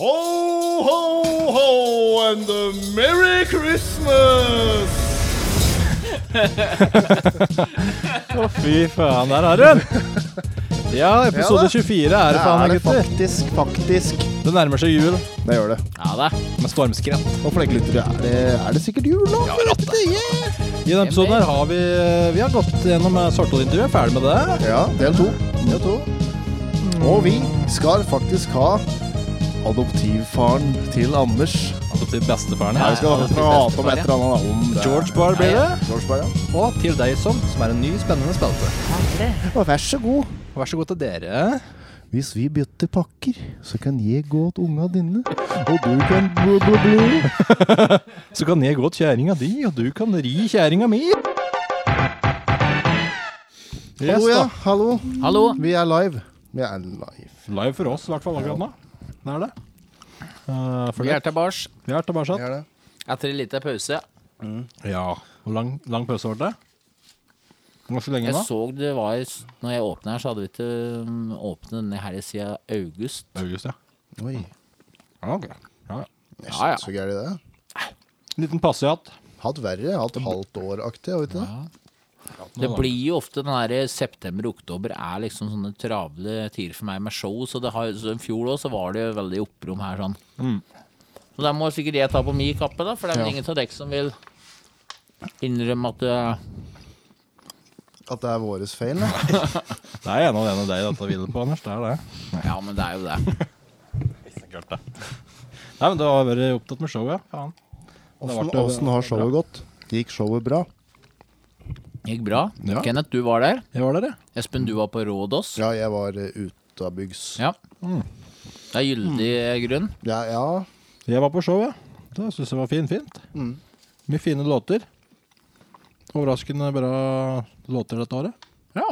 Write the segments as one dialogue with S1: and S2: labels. S1: Ho, ho, ho, and a merry Christmas!
S2: Å, fy faen, der har du den! Ja, episode
S1: Ja da.
S2: 24 er det faen,
S1: er
S2: da,
S1: det
S2: gutter.
S1: faktisk, faktisk.
S2: Det nærmer seg jul.
S1: Det gjør det.
S2: Ja da. Med stormskritt.
S1: Og for dere lyttere, er det, er det sikkert jul nå? Ja, yeah.
S2: I denne episoden her har vi Vi har gått gjennom eh, Svartholm-intervjuet. Ferdig med det.
S1: ja del to. Del to. Og vi skal faktisk ha adoptivfaren til Anders.
S2: Adoptivt Altså bestefaren
S1: Nei,
S2: her.
S1: vi skal
S2: Adoptivt
S1: prate om
S2: bestefar,
S1: et eller annet om det.
S2: George Barr blir det.
S1: George Barr, ja.
S2: ja. Og Til deg som, som er en ny, spennende spalte.
S1: Og vær så god.
S2: Vær så god til dere.
S1: Hvis vi bytter pakker, så kan jeg gå til unga dine, og du kan blu, blu, blu.
S2: Så kan jeg gå til kjerringa di, og du kan ri kjerringa mi. Yes,
S1: Hallo, ja.
S2: da.
S1: Hallo.
S3: Hallo.
S1: Vi er live. Vi er live.
S2: Live for oss, i hvert fall akkurat nå. Det er det. Eh, for
S3: Vi
S2: det.
S3: er tilbake
S2: Vi er tilbake.
S1: Vi er det.
S3: etter en liten pause.
S2: Ja. Hvor lang, lang pause var det? Hvor så lenge
S3: Jeg
S2: da?
S3: så det var Når jeg åpna her, så hadde vi ikke um, åpnet denne her siden august.
S2: August, ja.
S1: Oi.
S2: Ja, ok. Ja, ja.
S3: Ja, ja.
S1: Så gærent det.
S2: Liten passehatt.
S1: Hatt verre. Hatt halvt år-aktig, har vi ikke det?
S3: Det blir jo ofte den der september-oktober er liksom sånne travle tider for meg med show. Så det har, så i fjor òg så var det jo veldig opprom her sånn. Så da må sikkert jeg ta på min kappe, da, for det er vel ingen av dere som vil innrømme at eh, det
S1: At det er våres feil, da.
S2: Det er en av en av deg dette hviler på, Anders. Det er det.
S3: Ja, men det er jo det.
S2: Nei, men du har vært opptatt med showet, ja. Faen.
S1: Åssen
S2: ble-
S1: åssen har showet gått? Gikk showet bra?
S3: Gikk bra.
S2: Ja.
S3: Kenneth, du var der.
S2: Jeg var der, jeg.
S3: Espen, du var på Rådås.
S1: Ja, jeg var eh, utabygds. Ja.
S3: Ja. Det er gyldig eh, grunn.
S1: ja,
S2: Jeg var på show, ja. Det syns jeg var fint. fint. Mye fine låter. Overraskende bra låter dette året.
S3: Ja.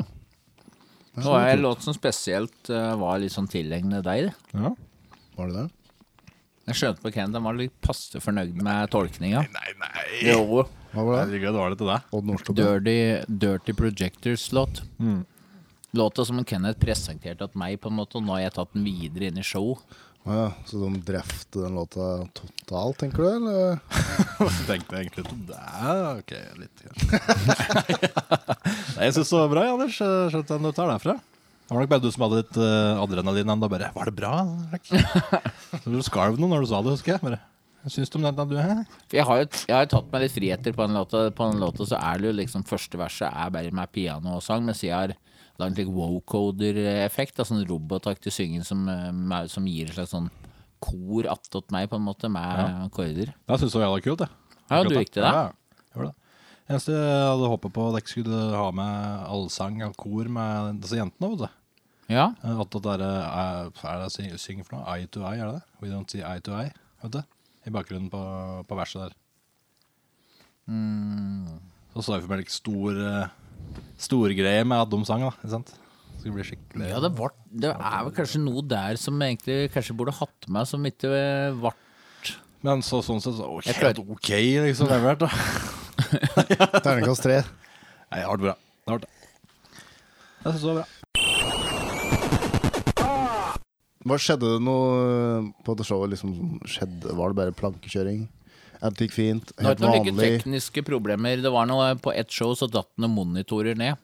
S3: Det sånn var en låt som spesielt eh, var litt sånn tilegnet deg. det.
S2: Ja.
S1: Var det det?
S3: Jeg skjønte på Ken, den var litt passe fornøyd med tolkninga. Nei, nei. Jo,
S1: Hva var det?
S2: Herregud, var det til deg?
S1: Odd Nordstoga.
S3: Dirty, Dirty Projectors-låt. Låta som Kenneth presenterte til meg, på en måte, og nå har jeg tatt den videre inn i show.
S1: Å ja, så de drepte den låta totalt, tenker du? Eller?
S2: Så tenkte jeg egentlig at det er ok, litt. Nei, jeg syns det var bra, Anders. Skjønt at du tar derfra. Det var nok bare du som hadde litt eh, adrenalin ennå. Bare 'Var det bra?' Så du skalv noe når du sa det, husker jeg. Bare, «Hva syns du om den, du, hæ?
S3: For Jeg har jo jeg har jo tatt meg litt friheter på den låta. På den låta så er det jo liksom første verset er bare med piano og sang, mens jeg har lagd litt wow-coder-effekt. da, Sånn robotaktig synging som, eh, med- som gir et slags sånn kor attåt meg, på en måte, med akkorder.
S2: Jeg syns det var jævla kult, jeg.
S3: Ja, du
S2: Kult,
S3: likte det?
S2: Ja, ja. Jeg gjorde det. Eneste jeg hadde håpet på at dere skulle ha med allsang og kor med disse jentene. vet du.
S3: Ja.
S2: At det der, eh, er det syng- synger for noe? Eye to eye, er det det? We don't see eye to eye, vet du? I bakgrunnen på, på verset der.
S3: Mm.
S2: Så så jeg for meg like stor, eh, stor greie med at de sang, da. Ikke sant? Det skulle bli skikkelig
S3: Ja, det, var, det er vel kanskje noe der som egentlig kanskje burde hatt med, som ikke eh, vart
S2: Men så, sånn sett så, ok,
S3: Jeg prøvde-
S2: ok, liksom. Det har vært, da.
S1: Terningkast tre.
S2: Nei, det har vært bra. Det har vært det. Jeg synes det var bra.
S1: Hva skjedde det noe eh, på det showet? Liksom, skjedde, var det bare plankekjøring? Alt gikk fint?
S3: Det var
S1: Helt
S3: ikke noen like
S1: vanlig?
S3: tekniske problemer. Det var noe eh, På ett show så datt noen monitorer ned.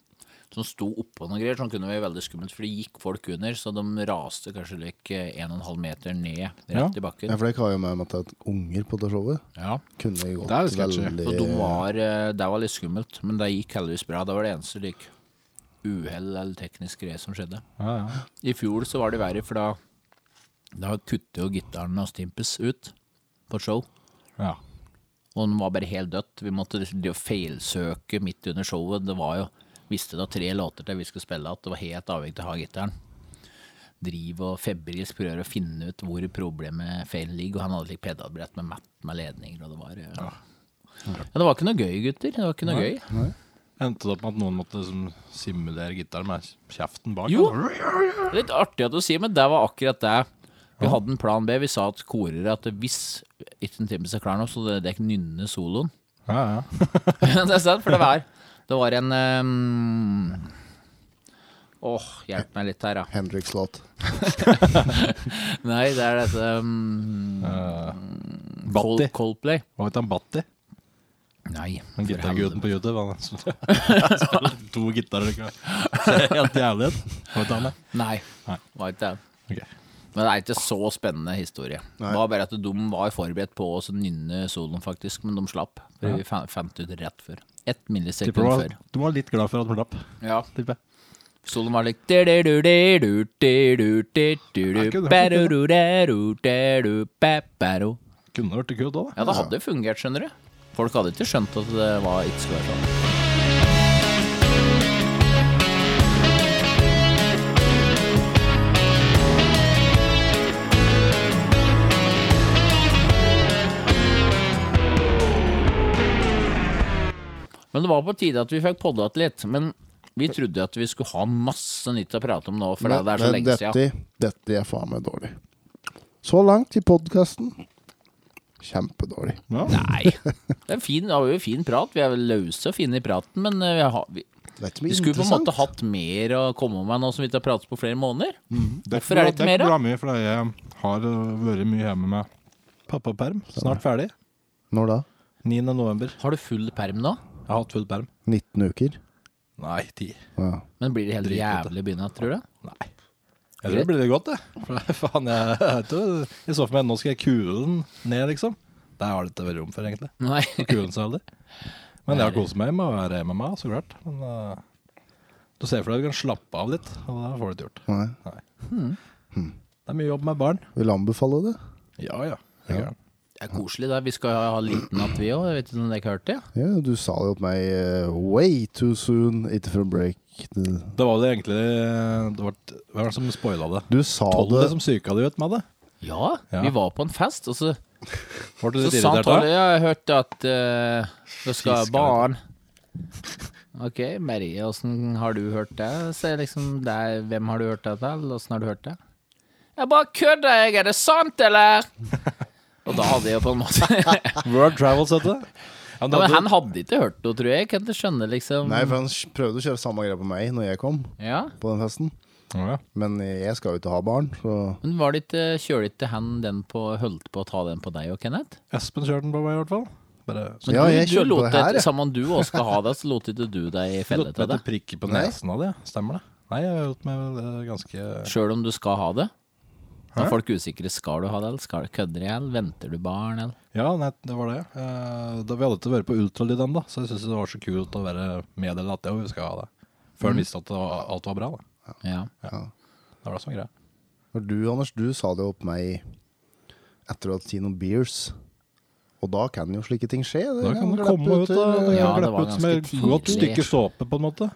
S3: Som sto oppå noen greier. Sånn kunne det være veldig skummelt, for det gikk folk under. Så de raste kanskje like eh, 1,5 meter ned rett
S2: Ja.
S3: i
S1: Ja,
S3: bakken.
S1: for det kan jo med meg til at unger på det showet
S3: Ja.
S1: kunne gått
S2: Det er jo sketchy.
S1: veldig
S3: Så de var, eh, det var litt skummelt, men det gikk heldigvis bra. Det var det eneste like uhell eller teknisk greie som skjedde.
S2: Ja, ja.
S3: I fjor så var det verre, for da, da kuttet jo gitaren og Stimpes ut på et show.
S2: Ja.
S3: Og den var bare helt dødt. Vi måtte de- feilsøke midt under showet. Det var jo Visste da tre låter til vi skulle spille at det var helt avhengig av å ha gitaren. Driv og febrilsk prøver å finne ut hvor problemet feilen ligger. Og han hadde litt pedalbrett med map med ledninger, og det var eh, ja. Det var ikke noe gøy, gutter. Det var ikke noe gøy.
S2: Endte det opp med at noen måtte liksom simulere gitaren med kjeften bak?
S3: Jo.
S2: da?
S3: Litt artig at du sier, men det var akkurat det. Vi hadde en plan B. Vi sa at korere at hvis ikke en time er klar nå, så det det er ikke nynne soloen.
S2: Ja, ja.
S3: det er sant, for det var Det var en ehm, Åh, hjelp meg litt her, da.
S1: Hendrix-låt.
S3: Nei, det er dette um, Col
S2: Eh, Batti.
S3: Coldplay.
S2: Hva het han Batti?
S3: Nei.
S2: Han
S3: for
S2: gitarguden
S3: helvete.
S2: på YouTube. Han spiller to gitarer. ikke sant? Det er Helt jævlig. Hva heter han, da?
S3: Nei.
S2: Nei.
S3: Var ikke det.
S2: Ok.
S3: Men det er ikke så spennende historie.
S1: Nei.
S3: Det var bare at de var forberedt på å nynne soloen, faktisk, men de slapp. For Vi fa- fant ut rett før. Ett
S2: Tipper du
S3: millisekund
S2: var,
S3: før.
S2: du var litt glad for at du slapp.
S3: Ja.
S2: tipper jeg.
S3: Soloen var litt Ja,
S2: det ikke det?
S3: det
S2: Kunne vært kult òg, da.
S3: hadde fungert, skjønner du. Folk hadde ikke skjønt at det var ikke skulle være sånn. Men det var på tide at vi fikk podda til litt. Men vi trodde at vi skulle ha masse nytt å prate om nå, for det er så
S1: Men
S3: lenge siden.
S1: dette, dette er faen meg dårlig. Så langt i podkasten. Kjempedårlig.
S2: Ja.
S3: Nei. Det er en fin, det var jo en fin prat. Vi er vel løse og fine i praten, men eh, vi, har, vi,
S1: Det er ikke
S3: vi
S1: mye
S3: skulle på en
S1: interessant.
S3: måte hatt mer å komme med nå som vi ikke har pratet på flere måneder.
S2: Det er
S3: Hvorfor er det
S2: bra-
S3: ikke mer, da?
S2: bra mye, for jeg har øh, vært mye hjemme med pappaperm. Snart ferdig.
S1: Når da?
S2: 9. november.
S3: Har du full perm nå?
S2: Jeg har hatt full perm.
S1: 19 uker?
S2: Nei, ti.
S1: Ja.
S3: Men blir det helt
S2: Drit ut, da.
S3: jævlig i begynnelsen, tror du?
S2: Nei. Jeg tror det blir litt godt, det. For faen, jeg, jeg, vet jo- jeg så for meg nå skal jeg kule den ned, liksom. Der har det ikke vært rom for, egentlig.
S3: Nei.
S2: Kule den seg aldri. Men jeg har kost meg med å være med meg, så klart. Men øh, du ser for deg at du kan slappe av litt, og det får du ikke gjort.
S1: Nei.
S2: Nei. Det er mye jobb med barn.
S1: Vil anbefale det.
S2: Ja, ja. Det er gæren.
S3: Det er koselig. Det. Vi skal ha liten natt, vi òg. Vet du om dere ikke hørte det?
S1: Ja, du sa det jo på meg eh, way too soon, ikke for a break. Du,
S2: Det var det egentlig det var, Hvem var det som spoila det?
S1: du sa
S2: Tollet
S1: det
S3: liksom.
S2: som psyka deg ut med det?
S3: Ja,
S2: Ja.
S3: vi var på en fest, og så,
S2: Ble du
S3: så
S2: litt
S3: sa han
S2: irritert
S3: Tolle
S2: da?
S3: ja, jeg hørte at eh, det skal
S2: Fisker,
S3: være barn. Ok, Marie, åssen har du hørt det? Så jeg liksom, det er, hvem har du hørt det til? Åssen har du hørt det? Jeg bare kødder, jeg. Er det sant, eller? Og da hadde jeg jo på en måte ja,
S2: World Travels, heter det. Ja, men det
S3: Men
S2: hadde-
S3: han hadde ikke hørt det, tror jeg. Jeg kan ikke skjønne, liksom.
S1: Nei, for han s- prøvde å kjøre samme greia på meg når jeg kom
S3: Ja,
S1: på den festen.
S2: Å, ja.
S1: Men jeg skal jo ikke ha barn, så
S3: Men var det ikke, kjører ikke han den på, holdt på å ta den på deg og Kenneth?
S2: Espen kjørte den på meg, i hvert fall. Bare
S3: Men
S1: Ja,
S3: du,
S1: jeg
S3: du
S1: kjørte på
S3: lot
S1: det
S3: det
S1: her, jeg.
S3: Sammen om du også skal ha det, så lot ikke du deg felle
S2: Lot
S3: til
S2: meg
S3: det.
S2: til prikke på
S1: Nei.
S2: nesen av det, ja. stemmer det? Nei, jeg har gjort meg vel, eh, ganske
S3: Sjøl om du skal ha det? Da er folk usikre. Skal du ha det, eller skal du kødde i hjel? Venter du barn, eller?
S2: Ja, nei, det var det. Eh, Da vi hadde ikke vært på ultralyd ennå, så jeg syntes det var så kult å være meddelt at jeg skal ha det. Før han visste at det var, alt var bra. da.
S3: Ja.
S2: Det var det som var greia.
S1: For du, Anders, du sa det jo på meg etter å ha tatt noen beers. Og da kan jo slike ting skje. Det
S2: Da kan
S1: kan
S2: det
S1: glappe
S2: komme ut
S1: til,
S2: og
S1: eh,
S3: Ja, det
S2: glippe
S3: var
S2: ut som
S3: ganske
S2: et godt
S3: tidlig.
S2: stykke såpe, på en måte.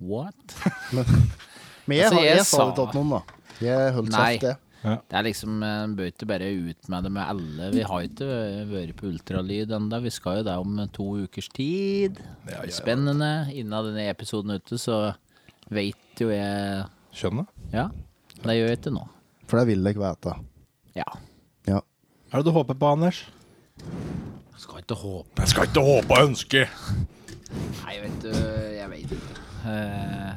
S3: What?
S1: Men jeg,
S3: Altså,
S1: jeg,
S3: jeg
S1: sa det
S3: sa-
S1: til noen, da. Jeg holdt
S3: Nei.
S1: kjeft, det.
S3: Det er liksom eh, Bør ikke bare ut med det med alle. Vi har ikke eh, vært på ultralyd ennå. Vi skal jo det om to ukers tid.
S2: Ja, ja, ja.
S3: Spennende. Innen denne episoden ute, så veit jo jeg
S2: Skjønner.
S3: Ja, det gjør jeg ikke nå.
S1: For det ville jeg ikke vite.
S3: Ja.
S1: Ja.
S2: Hva er det du håper på, Anders?
S3: Skal ikke håpe.
S2: Jeg skal ikke håpe og ønske.
S3: Nei, vet du, jeg vet ikke. Eh,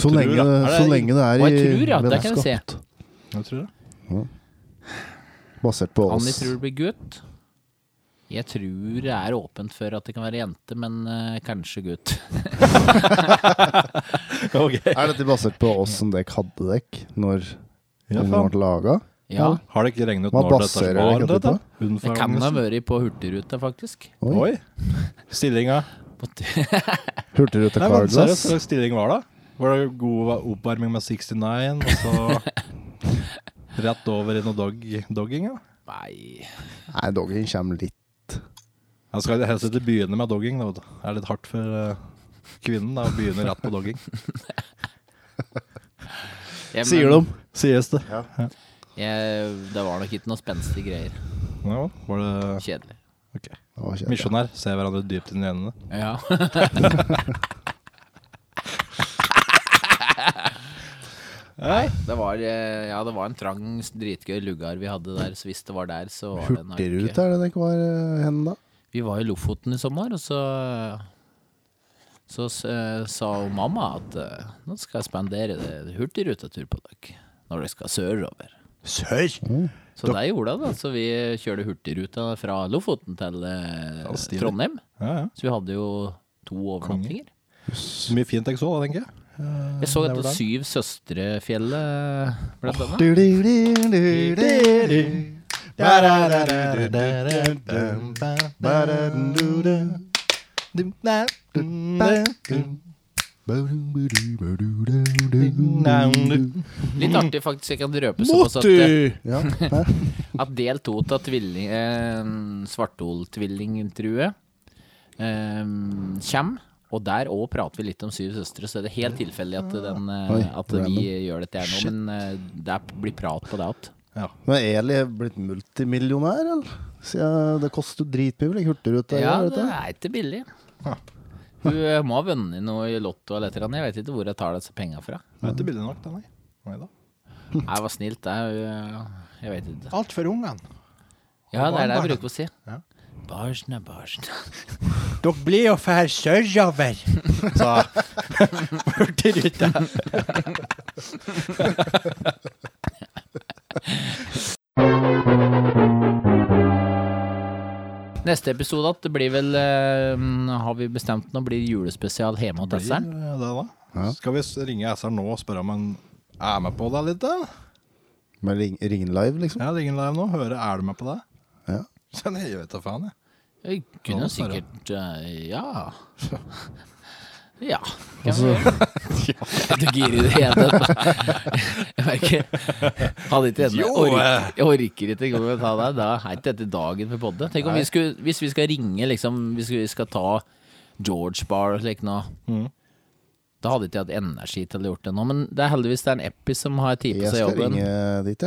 S1: Så lenge, så lenge det er
S3: Hva
S1: i
S3: jeg tror, ja, det kan jeg se.
S1: vennskap.
S2: Jeg tror det.
S1: Basert på
S3: Anni
S1: oss.
S3: tror det blir gutt. Jeg tror det er åpent for at det kan være jente, men eh, kanskje gutt.
S2: Ok.
S1: Er dette basert på oss som dere hadde dere når
S2: Ja,
S1: ungen
S2: faen.
S1: ble laga?
S3: Ja,
S2: Har det ikke regnet ut
S1: Hva
S2: når dette
S1: baserer
S2: var?
S1: dere dette
S2: Dette?
S1: på?
S3: det kan ha vært på Hurtigruta, faktisk.
S1: Oi.
S2: Oi. Stillinga.
S3: På t-
S1: Hurtigruta
S2: Nei, men seriøst,
S1: Carglass.
S2: hva slags stilling var det? Var det god oppvarming med 69, og så rett over i noe dog, dogging? Ja?
S3: Nei
S1: Nei, dogging kommer litt.
S2: Jeg skal helst ikke begynne med dogging. Da. vet du. Det er litt hardt for eh, kvinnen da, å begynne rett på dogging.
S3: jeg,
S1: Sier de.
S2: Sies det.
S3: Jeg, det var nok ikke noe spenstige greier.
S2: Ja, var det
S3: Kjedelig.
S2: Ok.
S1: Det var kjedelig.
S2: Misjonær. Se hverandre dypt inn i øynene.
S3: Ja. Nei, det var, eh, ja, det var en trang, dritgøy lugar vi hadde der, så hvis det var der, så var det nok
S1: Hurtigruta, er det det ikke var eh, hen da?
S3: Vi var i Lofoten i sommer, og så Så s- eh, sa hun mamma at eh, nå skal jeg spandere det hurtigrutetur på dere når dere skal sørover.
S2: Sør!
S3: Så det gjorde jeg, da. Så vi kjørte hurtigruta fra Lofoten til eh,
S2: Ja, stilig.
S3: Trondheim.
S2: Ja, ja.
S3: Så vi hadde jo to overnattinger.
S2: Så mye fint jeg så, da, tenker jeg. Eh,
S3: Jeg så
S2: der
S3: dette
S2: var det.
S3: Syv søstre-fjellet, blant annet. Litt artig, faktisk. Jeg kan røpe såpass at, eh,
S1: Ja,
S3: at del to av tvilling, eh, Svartholtvillingtrue eh, kommer. Og der òg prater vi litt om Syv søstre, så det er helt tilfeldig at, den, eh,
S1: Oi,
S3: at
S1: random.
S3: vi gjør dette her nå. Men eh, det er- blir prat på det igjen.
S2: Ja.
S1: Men er Eli blitt multimillionær, eller? Siden det koster dritmye med Hurtigrute.
S3: Ja,
S1: eller, vet
S3: det
S1: du?
S3: er ikke billig.
S2: Ja.
S3: Hun eh, må ha vunnet noe i Lotto eller et eller annet. Jeg vet ikke hvor jeg tar disse penga fra.
S2: Det er ikke billig nok, den, nei. Nei da.
S3: Jeg var snilt, det er jo eh, Jeg vet ikke.
S2: Alt for ungene.
S3: Ja, det er det jeg
S2: barn,
S3: bruker å si.
S2: Ja.
S3: Barsen er barsen.
S2: Dere blir jo fær sørover, sa Hurtigruta.
S3: Neste episode at det blir vel eh, Har vi bestemt nå? Blir det julespesial hjemme hos Tesseren?
S2: Blir det da.
S1: Ja.
S2: Skal vi s- ringe SR nå og spørre om han er med på det litt? da?
S1: Med ring, ring live, liksom?
S2: Ja, ringen live nå. Høre, er du med på det?
S1: Ja.
S2: Så nei, jeg vet da faen, jeg.
S3: Vi kunne
S2: Ja,
S3: jo sikkert eh, Ja. Ja. kan
S1: Altså-
S3: vi gjøre. Er du gira i det hele tatt? Jeg merker Hadde ikke ennå.
S2: Jo, eh.
S3: Orker, jeg orker ikke engang å ta deg. Da er ikke dette dagen for podde. Tenk om vi skulle, hvis vi skal ringe, liksom Hvis vi skal ta George Bar og slikt nå.
S1: Mm.
S2: Mhm.
S3: Da hadde ikke jeg hatt energi til å gjort det nå. Men det er heldigvis det er en Epi som har tid på
S1: Jeg
S3: seg
S1: skal
S3: jobben.
S1: ringe dit,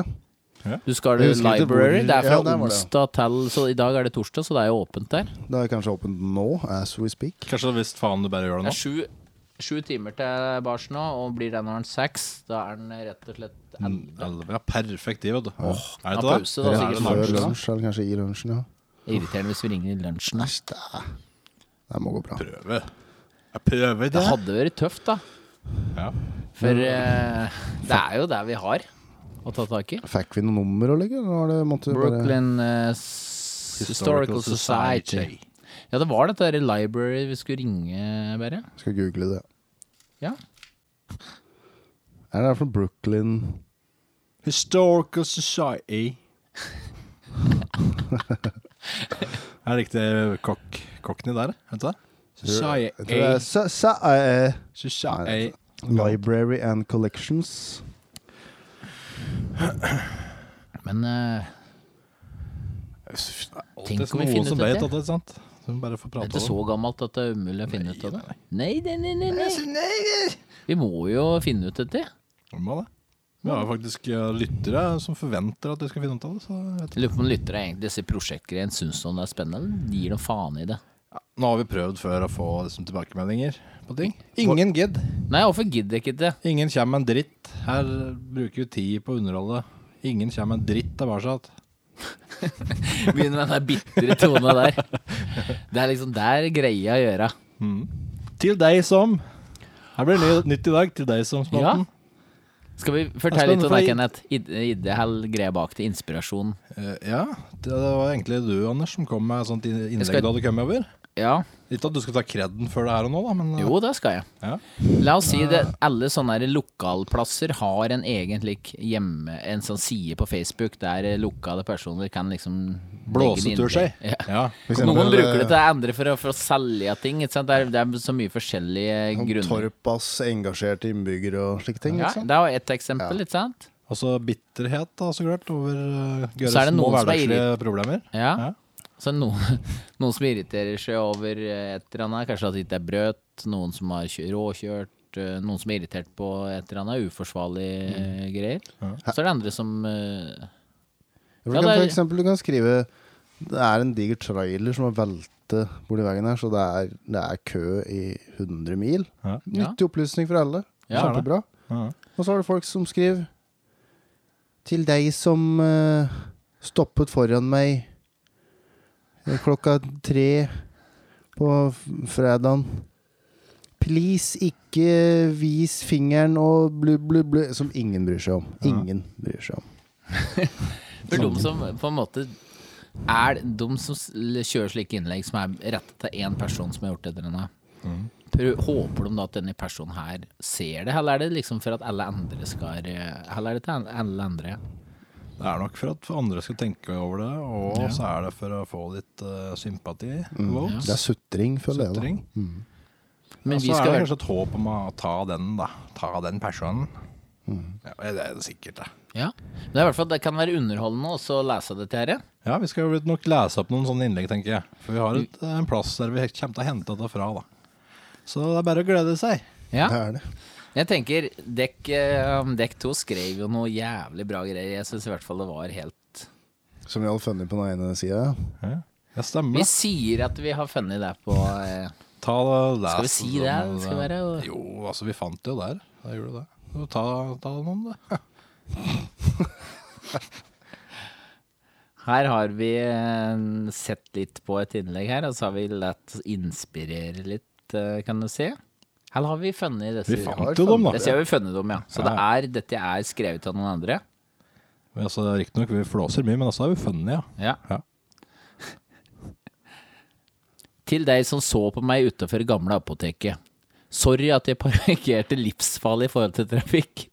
S1: ja.
S3: Du
S1: Jeg
S3: skal til
S1: husker ikke
S3: Library.
S1: hvor-
S3: Det er fra
S1: Ja, der var det, ja.
S3: onsdag til Så i dag er det torsdag, så det er jo åpent der.
S1: Det er kanskje åpent nå, as we speak.
S2: Kanskje visst faen du bare gjør
S3: Det
S2: det nå?
S3: er sju, sju timer til bars nå, og blir det når den seks, da er den rett og slett elleve.
S2: Elleve. Ja, perfekt tid, vet du. er
S3: Ja,
S2: det ikke
S3: pause, da,
S2: det? Er
S3: sikkert.
S2: det
S1: Før
S2: lunsj, da?
S1: lunsj, eller kanskje i lunsjen, ja.
S3: Irriterende hvis vi ringer i lunsjen. da.
S1: Det må gå bra.
S2: Prøve. Jeg prøver
S3: Det
S2: det.
S3: hadde vært tøft, da.
S2: Ja.
S3: For eh, det er jo det vi har å ta tak i.
S1: Fikk vi noe nummer å legge? Nå har det måttet bare
S3: Brooklyn eh, S- Historical Society. Ja, det var dette der i library vi skulle ringe, Berre.
S1: Skal google det.
S3: Ja.
S1: Er det fra Brooklyn
S2: Historical Society. er det riktig kokk, kokken i der? Vet du det?
S1: Jeg tror det er Sa- Sa- eh,
S2: Society.
S1: Library and Collections.
S3: Men eh,
S2: Tenk om vi finner ut Noen som vet at det er sant. Så vi bare får
S3: det er
S2: prate
S3: ikke så gammelt at det er umulig å finne ut av det. Nei, nei, nei, nei, nei.
S2: det.
S3: Vi må jo finne ut dette.
S2: Vi må det. Vi har jo faktisk eh, lyttere som forventer at vi skal finne ut av det. Så jeg vet
S3: Jeg lurer på om lyttere egentlig disse prosjektgreiene syns noen er spennende, eller gir de faen i det?
S2: ja, Nå har vi prøvd før å få liksom, tilbakemeldinger på ting. Ingen gidd.
S3: Nei, hvorfor gidder jeg ikke det?
S2: Ingen kommer med en dritt. Her bruker vi tid på å underholde. Ingen kommer med en dritt tilbake.
S3: Begynner med den der bitre tona der. Det er liksom der greia å gjøre.
S2: Til deg som Mm. Her blir det ny- nytt i dag. Til deg som
S3: Ja.
S2: spalten.
S3: Skal vi
S2: Det er
S3: fortelle litt om det,
S2: spennende,
S3: Kenneth? Idehell, greia bak til inspirasjon.
S2: Eh, ja. Det det var egentlig du, Anders, som kom med et sånt in- innlegg
S3: skal-
S2: da du kom over.
S3: Ja,
S2: Ikke at du skal ta kreden for det her og nå, da, men eh,
S3: jo, det skal jeg.
S2: Ja.
S3: La oss si det, alle sånne her lokalplasser har en egen slik hjemme, en sånn side på Facebook der eh, lokale personer kan liksom legge inn
S2: Blåsetur seg.
S3: innlegg. Ja.
S2: Ja.
S1: For
S3: Og Noen
S1: eksempel,
S3: bruker det
S1: eh,
S3: til andre for å, for å selge ting. Ikke sant? Det, er, det er så mye forskjellige
S1: om eh,
S3: grunner.
S1: sånn Torpas engasjerte innbyggere og slike ting.
S3: Ja,
S1: ikke sant?
S3: det er jo ett eksempel, ikke sant?
S2: Og så Altså bitterhet, da, så klart, over uh, Gøres
S3: Så er det
S2: små
S3: noen som er
S2: hverdagslige problemer.
S3: Ja.
S2: Ja.
S3: Så noen, noen som irriterer seg over eh, et eller annet, kanskje at det ikke er brøt, noen som har kjø- råkjørt, eh, noen som er irritert på et eller annet uforsvarlig
S1: Mm.
S3: eh, greier. Så er det andre som eh,
S1: For du kan,
S3: Ja, det er-
S1: for eksempel, du kan skrive Det er en diger trailer som har veltet borti veien her, så det er, det er kø i 100 mil.
S2: Ja.
S1: Nyttig opplysning for alle.
S3: Ja.
S1: Kjempebra.
S2: Ja.
S1: Og så har du folk som skriver Til deg som eh, stoppet foran meg eh, klokka tre på f- fredagen. Please, ikke vis fingeren og blu, blu, blu Som ingen bryr seg om. Ingen bryr seg om.
S3: For de som på en måte er de som s- l- kjører slike innlegg som er rettet til én person som har gjort et eller annet,
S2: Mm.
S3: prø- håper de da at denne personen her ser det, eller er det liksom for at alle andre skal eh, Eller er det til an- alle andre?
S2: Det er nok for at andre skal tenke over det, og så er det for å få litt eh, sympati.
S3: Mm.
S2: Votes.
S1: Mm. Det er sutring, føler jeg.
S2: Sutring.
S3: Men
S2: Og
S3: vi
S2: så er det
S3: skal
S2: kanskje et håp om å ta den, da. Ta den personen.
S3: Mm.
S2: Ja, det er det sikkert, det.
S3: Ja. Men det er i hvert fall det kan være underholdende også å lese dette her.
S2: Ja, vi skal jo nok lese opp noen sånne innlegg, tenker jeg. For vi har et, en plass der vi kommer til å hente dette fra, da. Så det er bare å glede seg.
S3: Ja.
S1: da. Det er det.
S3: Jeg tenker dekk, eh, dekk 2 skrev jo noe jævlig bra greier. Jeg syns i hvert fall det var helt
S1: Som vi hadde funnet på den ene sida.
S2: Ja, det stemmer.
S3: Vi
S2: det.
S3: sier at vi har funnet det på eh,
S2: Ta det, les
S3: Skal vi si det?
S2: noen,
S3: Det skal
S2: eh,
S3: være-
S2: Jo, altså, vi fant det jo der. Da gjorde du det. Så ta, ta det noen, da.
S3: Her har vi eh, sett litt på et innlegg her, og så har vi latt oss inspirere litt, eh, kan du si. Her har vi funnet disse.
S2: Vi
S1: har
S2: fant jo dem,
S3: Det
S2: da.
S3: ser vi funnet dem, ja. Så
S2: Ja.
S3: Det er, dette er skrevet av noen andre.
S2: Men Altså, Riktignok vi flåser mye, men altså har vi funnet, ja.
S3: Ja.
S2: Ja.
S3: Til deg som så på meg utenfor gamle apoteket. Sorry at jeg parkerte livsfarlig i forhold til trafikk.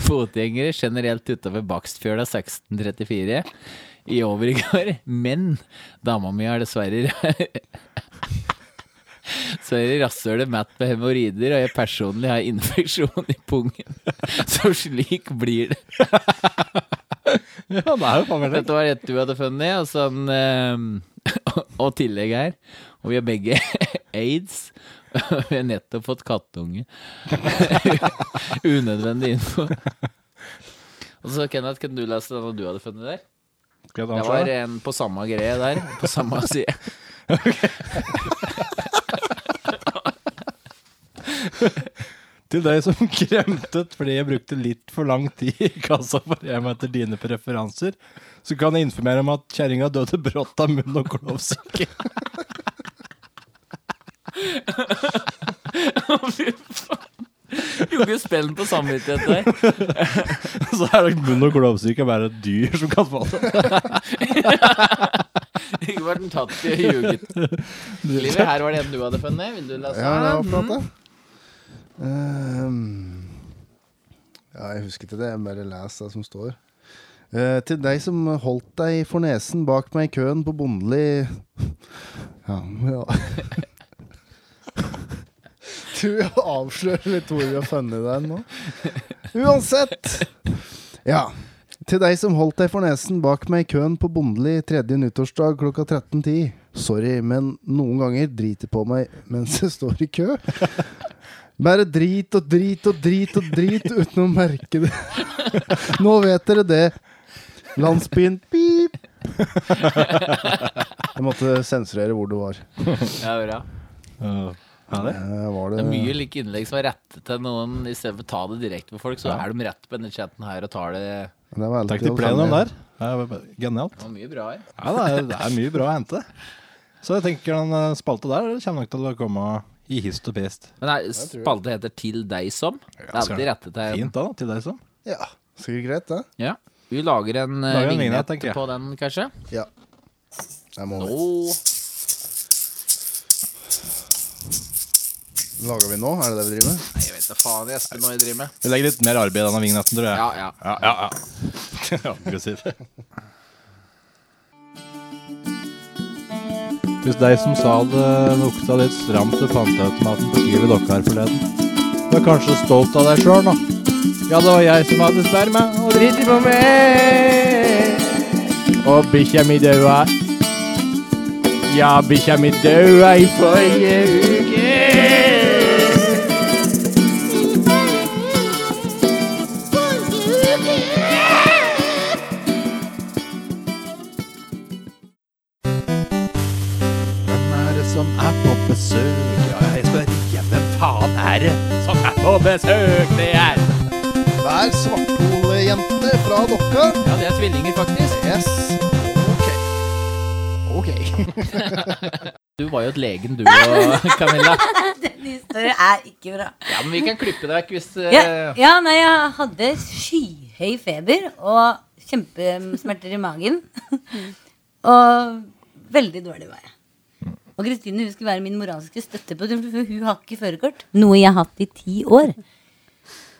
S3: Fotgjengere generelt utover Bakstfjøla 1634 i over i går. Men dama mi har dessverre Dessverre rasshølet matt med hemoroider, og jeg personlig har infeksjon i pungen. Så slik blir det.
S2: Ja, det er jo faen meg det.
S3: Dette var et du hadde funnet, og sånn eh, Og tillegg her. Og vi har begge aids. Og vi har nettopp fått kattunge. Unødvendig info. Og så Kenneth, kan du lese den du hadde funnet der?
S2: Skal jeg ta
S3: Det
S2: den
S3: var eh,
S2: selv, da?
S3: en på samme greie der. På samme side.
S2: Til deg som kremtet fordi jeg brukte litt for lang tid i kassa for hjem etter dine preferanser, så kan jeg informere om at kjerringa døde brått av munn- og klovsyke.
S3: Gjorde spillen på samvittighet der.
S2: Så er det munn- og klovsyke er bare et dyr som kan få det.
S3: Ikke vært den tatt i og ljuget. Livet, her var det en du hadde funnet. Vil du lese
S1: Ja, det var
S3: den?
S1: flott, det. Ehm, ja, jeg husker ikke det. Jeg bare leser det som står. Eh, til deg som holdt deg for nesen bak meg i køen på Bondeli Ja, ja. Du avslører litt hvor vi har funnet deg nå. Uansett. Ja. Til deg som holdt deg for nesen bak meg i køen på Bondeli tredje nyttårsdag klokka 13.10. Sorry, men noen ganger driter på meg mens jeg står i kø. Bare drit og drit og drit og drit uten å merke det. Nå vet dere det. Landsbyen pip. Jeg måtte sensurere hvor det var.
S3: Ja, bra.
S2: Ja, er det?
S1: Eh, var
S3: Det
S1: det
S3: er mye like innlegg som er rettet til noen, i stedet for å ta det direkte med folk, så er de rett på denne chatten her og tar det
S1: det var
S2: Takk til
S1: alltid
S2: plenum der. Ja, det var Genialt.
S3: Det var mye bra her.
S2: Ja, det er, det er mye bra å hente. Så jeg tenker den eh, spalte der kommer nok til å komme i hist og pist.
S3: Men nei, spalten heter 'Til deg som'. Det er
S2: skal
S3: alltid
S2: det.
S3: rettet til
S2: Fint da, da, til deg sånn.
S1: Ja. Sikkert greit, det.
S3: Ja. Vi lager en eh,
S2: Lager en vignett,
S3: vignett
S2: tenker jeg.
S3: på den, kanskje.
S1: Ja. Jeg må
S3: Nå
S1: Lager vi nå? Er det det vi driver med?
S3: Jeg vet da faen, Espen, hva jeg driver med.
S2: Vi legger litt mer arbeid i denne vignetten, tror jeg.
S3: Ja, ja.
S2: ja, ja, ja. Aggressiv. Hvis deg som sa det lukta litt stramt til panteautomaten på Kiwi Dokkar forleden, du er kanskje stolt av deg sjøl nå. Ja, det var jeg som hadde sperma og driti på meg. Og bikkja mi daua. Ja, bikkja mi daua i forrige uke. Hvem er det som er på besøk? Ja, jeg spør ikke. Hvem faen er det som er på besøk? Det er
S1: Hver svartpolejente fra Dokka.
S3: Ja, det er tvillinger, faktisk.
S1: Yes. Ok. Ok.
S3: Du var jo et legen, du og Camilla.
S4: Dennis Dere er ikke bra.
S5: Ja, men vi kan klippe deg vekk hvis eh,
S4: Ja, ja, nei, jeg hadde skyhøy feber og kjempesmerter i magen. og veldig dårlig var jeg. Og Kristine hun skulle være min moralske støtte, på turen, for hun har ikke førerkort. Noe jeg har hatt i ti år.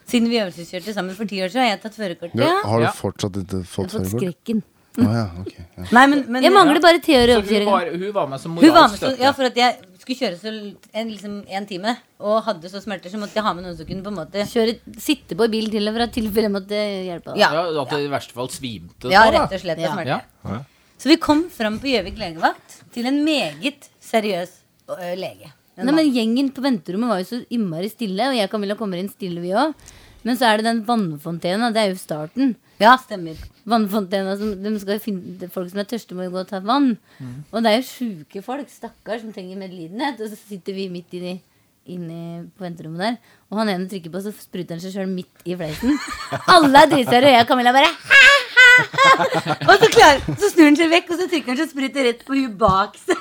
S4: Siden vi øvelseskjørte sammen for ti år siden, har jeg tatt førerkort.
S1: Du,
S4: Ja.
S1: har du
S5: Ja.
S1: fortsatt ikke
S6: Jeg
S1: fått
S6: har fått
S1: førerkort?
S6: skrekken.
S1: Å ja, ok. Ja.
S4: Nei, men, men,
S6: Jeg mangler bare ti år i
S5: Så hun
S6: oppkjøringa.
S5: var, hun var med som
S4: Hun var med
S5: moralsk
S4: så,
S5: støtte.
S4: ja, for at jeg skulle kjøre så l- en, liksom, en time og hadde så smerter, så måtte jeg ha med noen som kunne på en måte
S6: Kjøre, sitte på bil til og fra tilfelle jeg måtte hjelpe.
S4: Ja.
S5: Ja, At det i verste fall svimte.
S4: Ja,
S5: da, da.
S4: rett og slett.
S6: Ja.
S4: av smerte.
S5: Ja.
S4: Så vi kom fram på Gjøvik legevakt til en meget seriøs ø, lege. En
S6: Nei,
S4: mann.
S6: men Gjengen på venterommet var jo så innmari stille, og jeg og Camilla kommer inn stille, vi òg. Men så er det den vannfontena. Det er jo starten.
S4: ja, stemmer.
S6: Vannfontena som, de skal jo finne, det er Folk som er tørste, må jo gå og ta vann.
S5: Mm.
S6: Og det er jo sjuke folk, stakkars, som trenger medlidenhet. Og så sitter vi midt inni, inni på venterommet der, og han ene trykker på, så spruter han seg sjøl midt i fleisen. Alle er dritsære, og jeg og Camilla bare
S4: Og så, klar, så snur han seg vekk, og så trykker han så spruter rett på hun bak seg.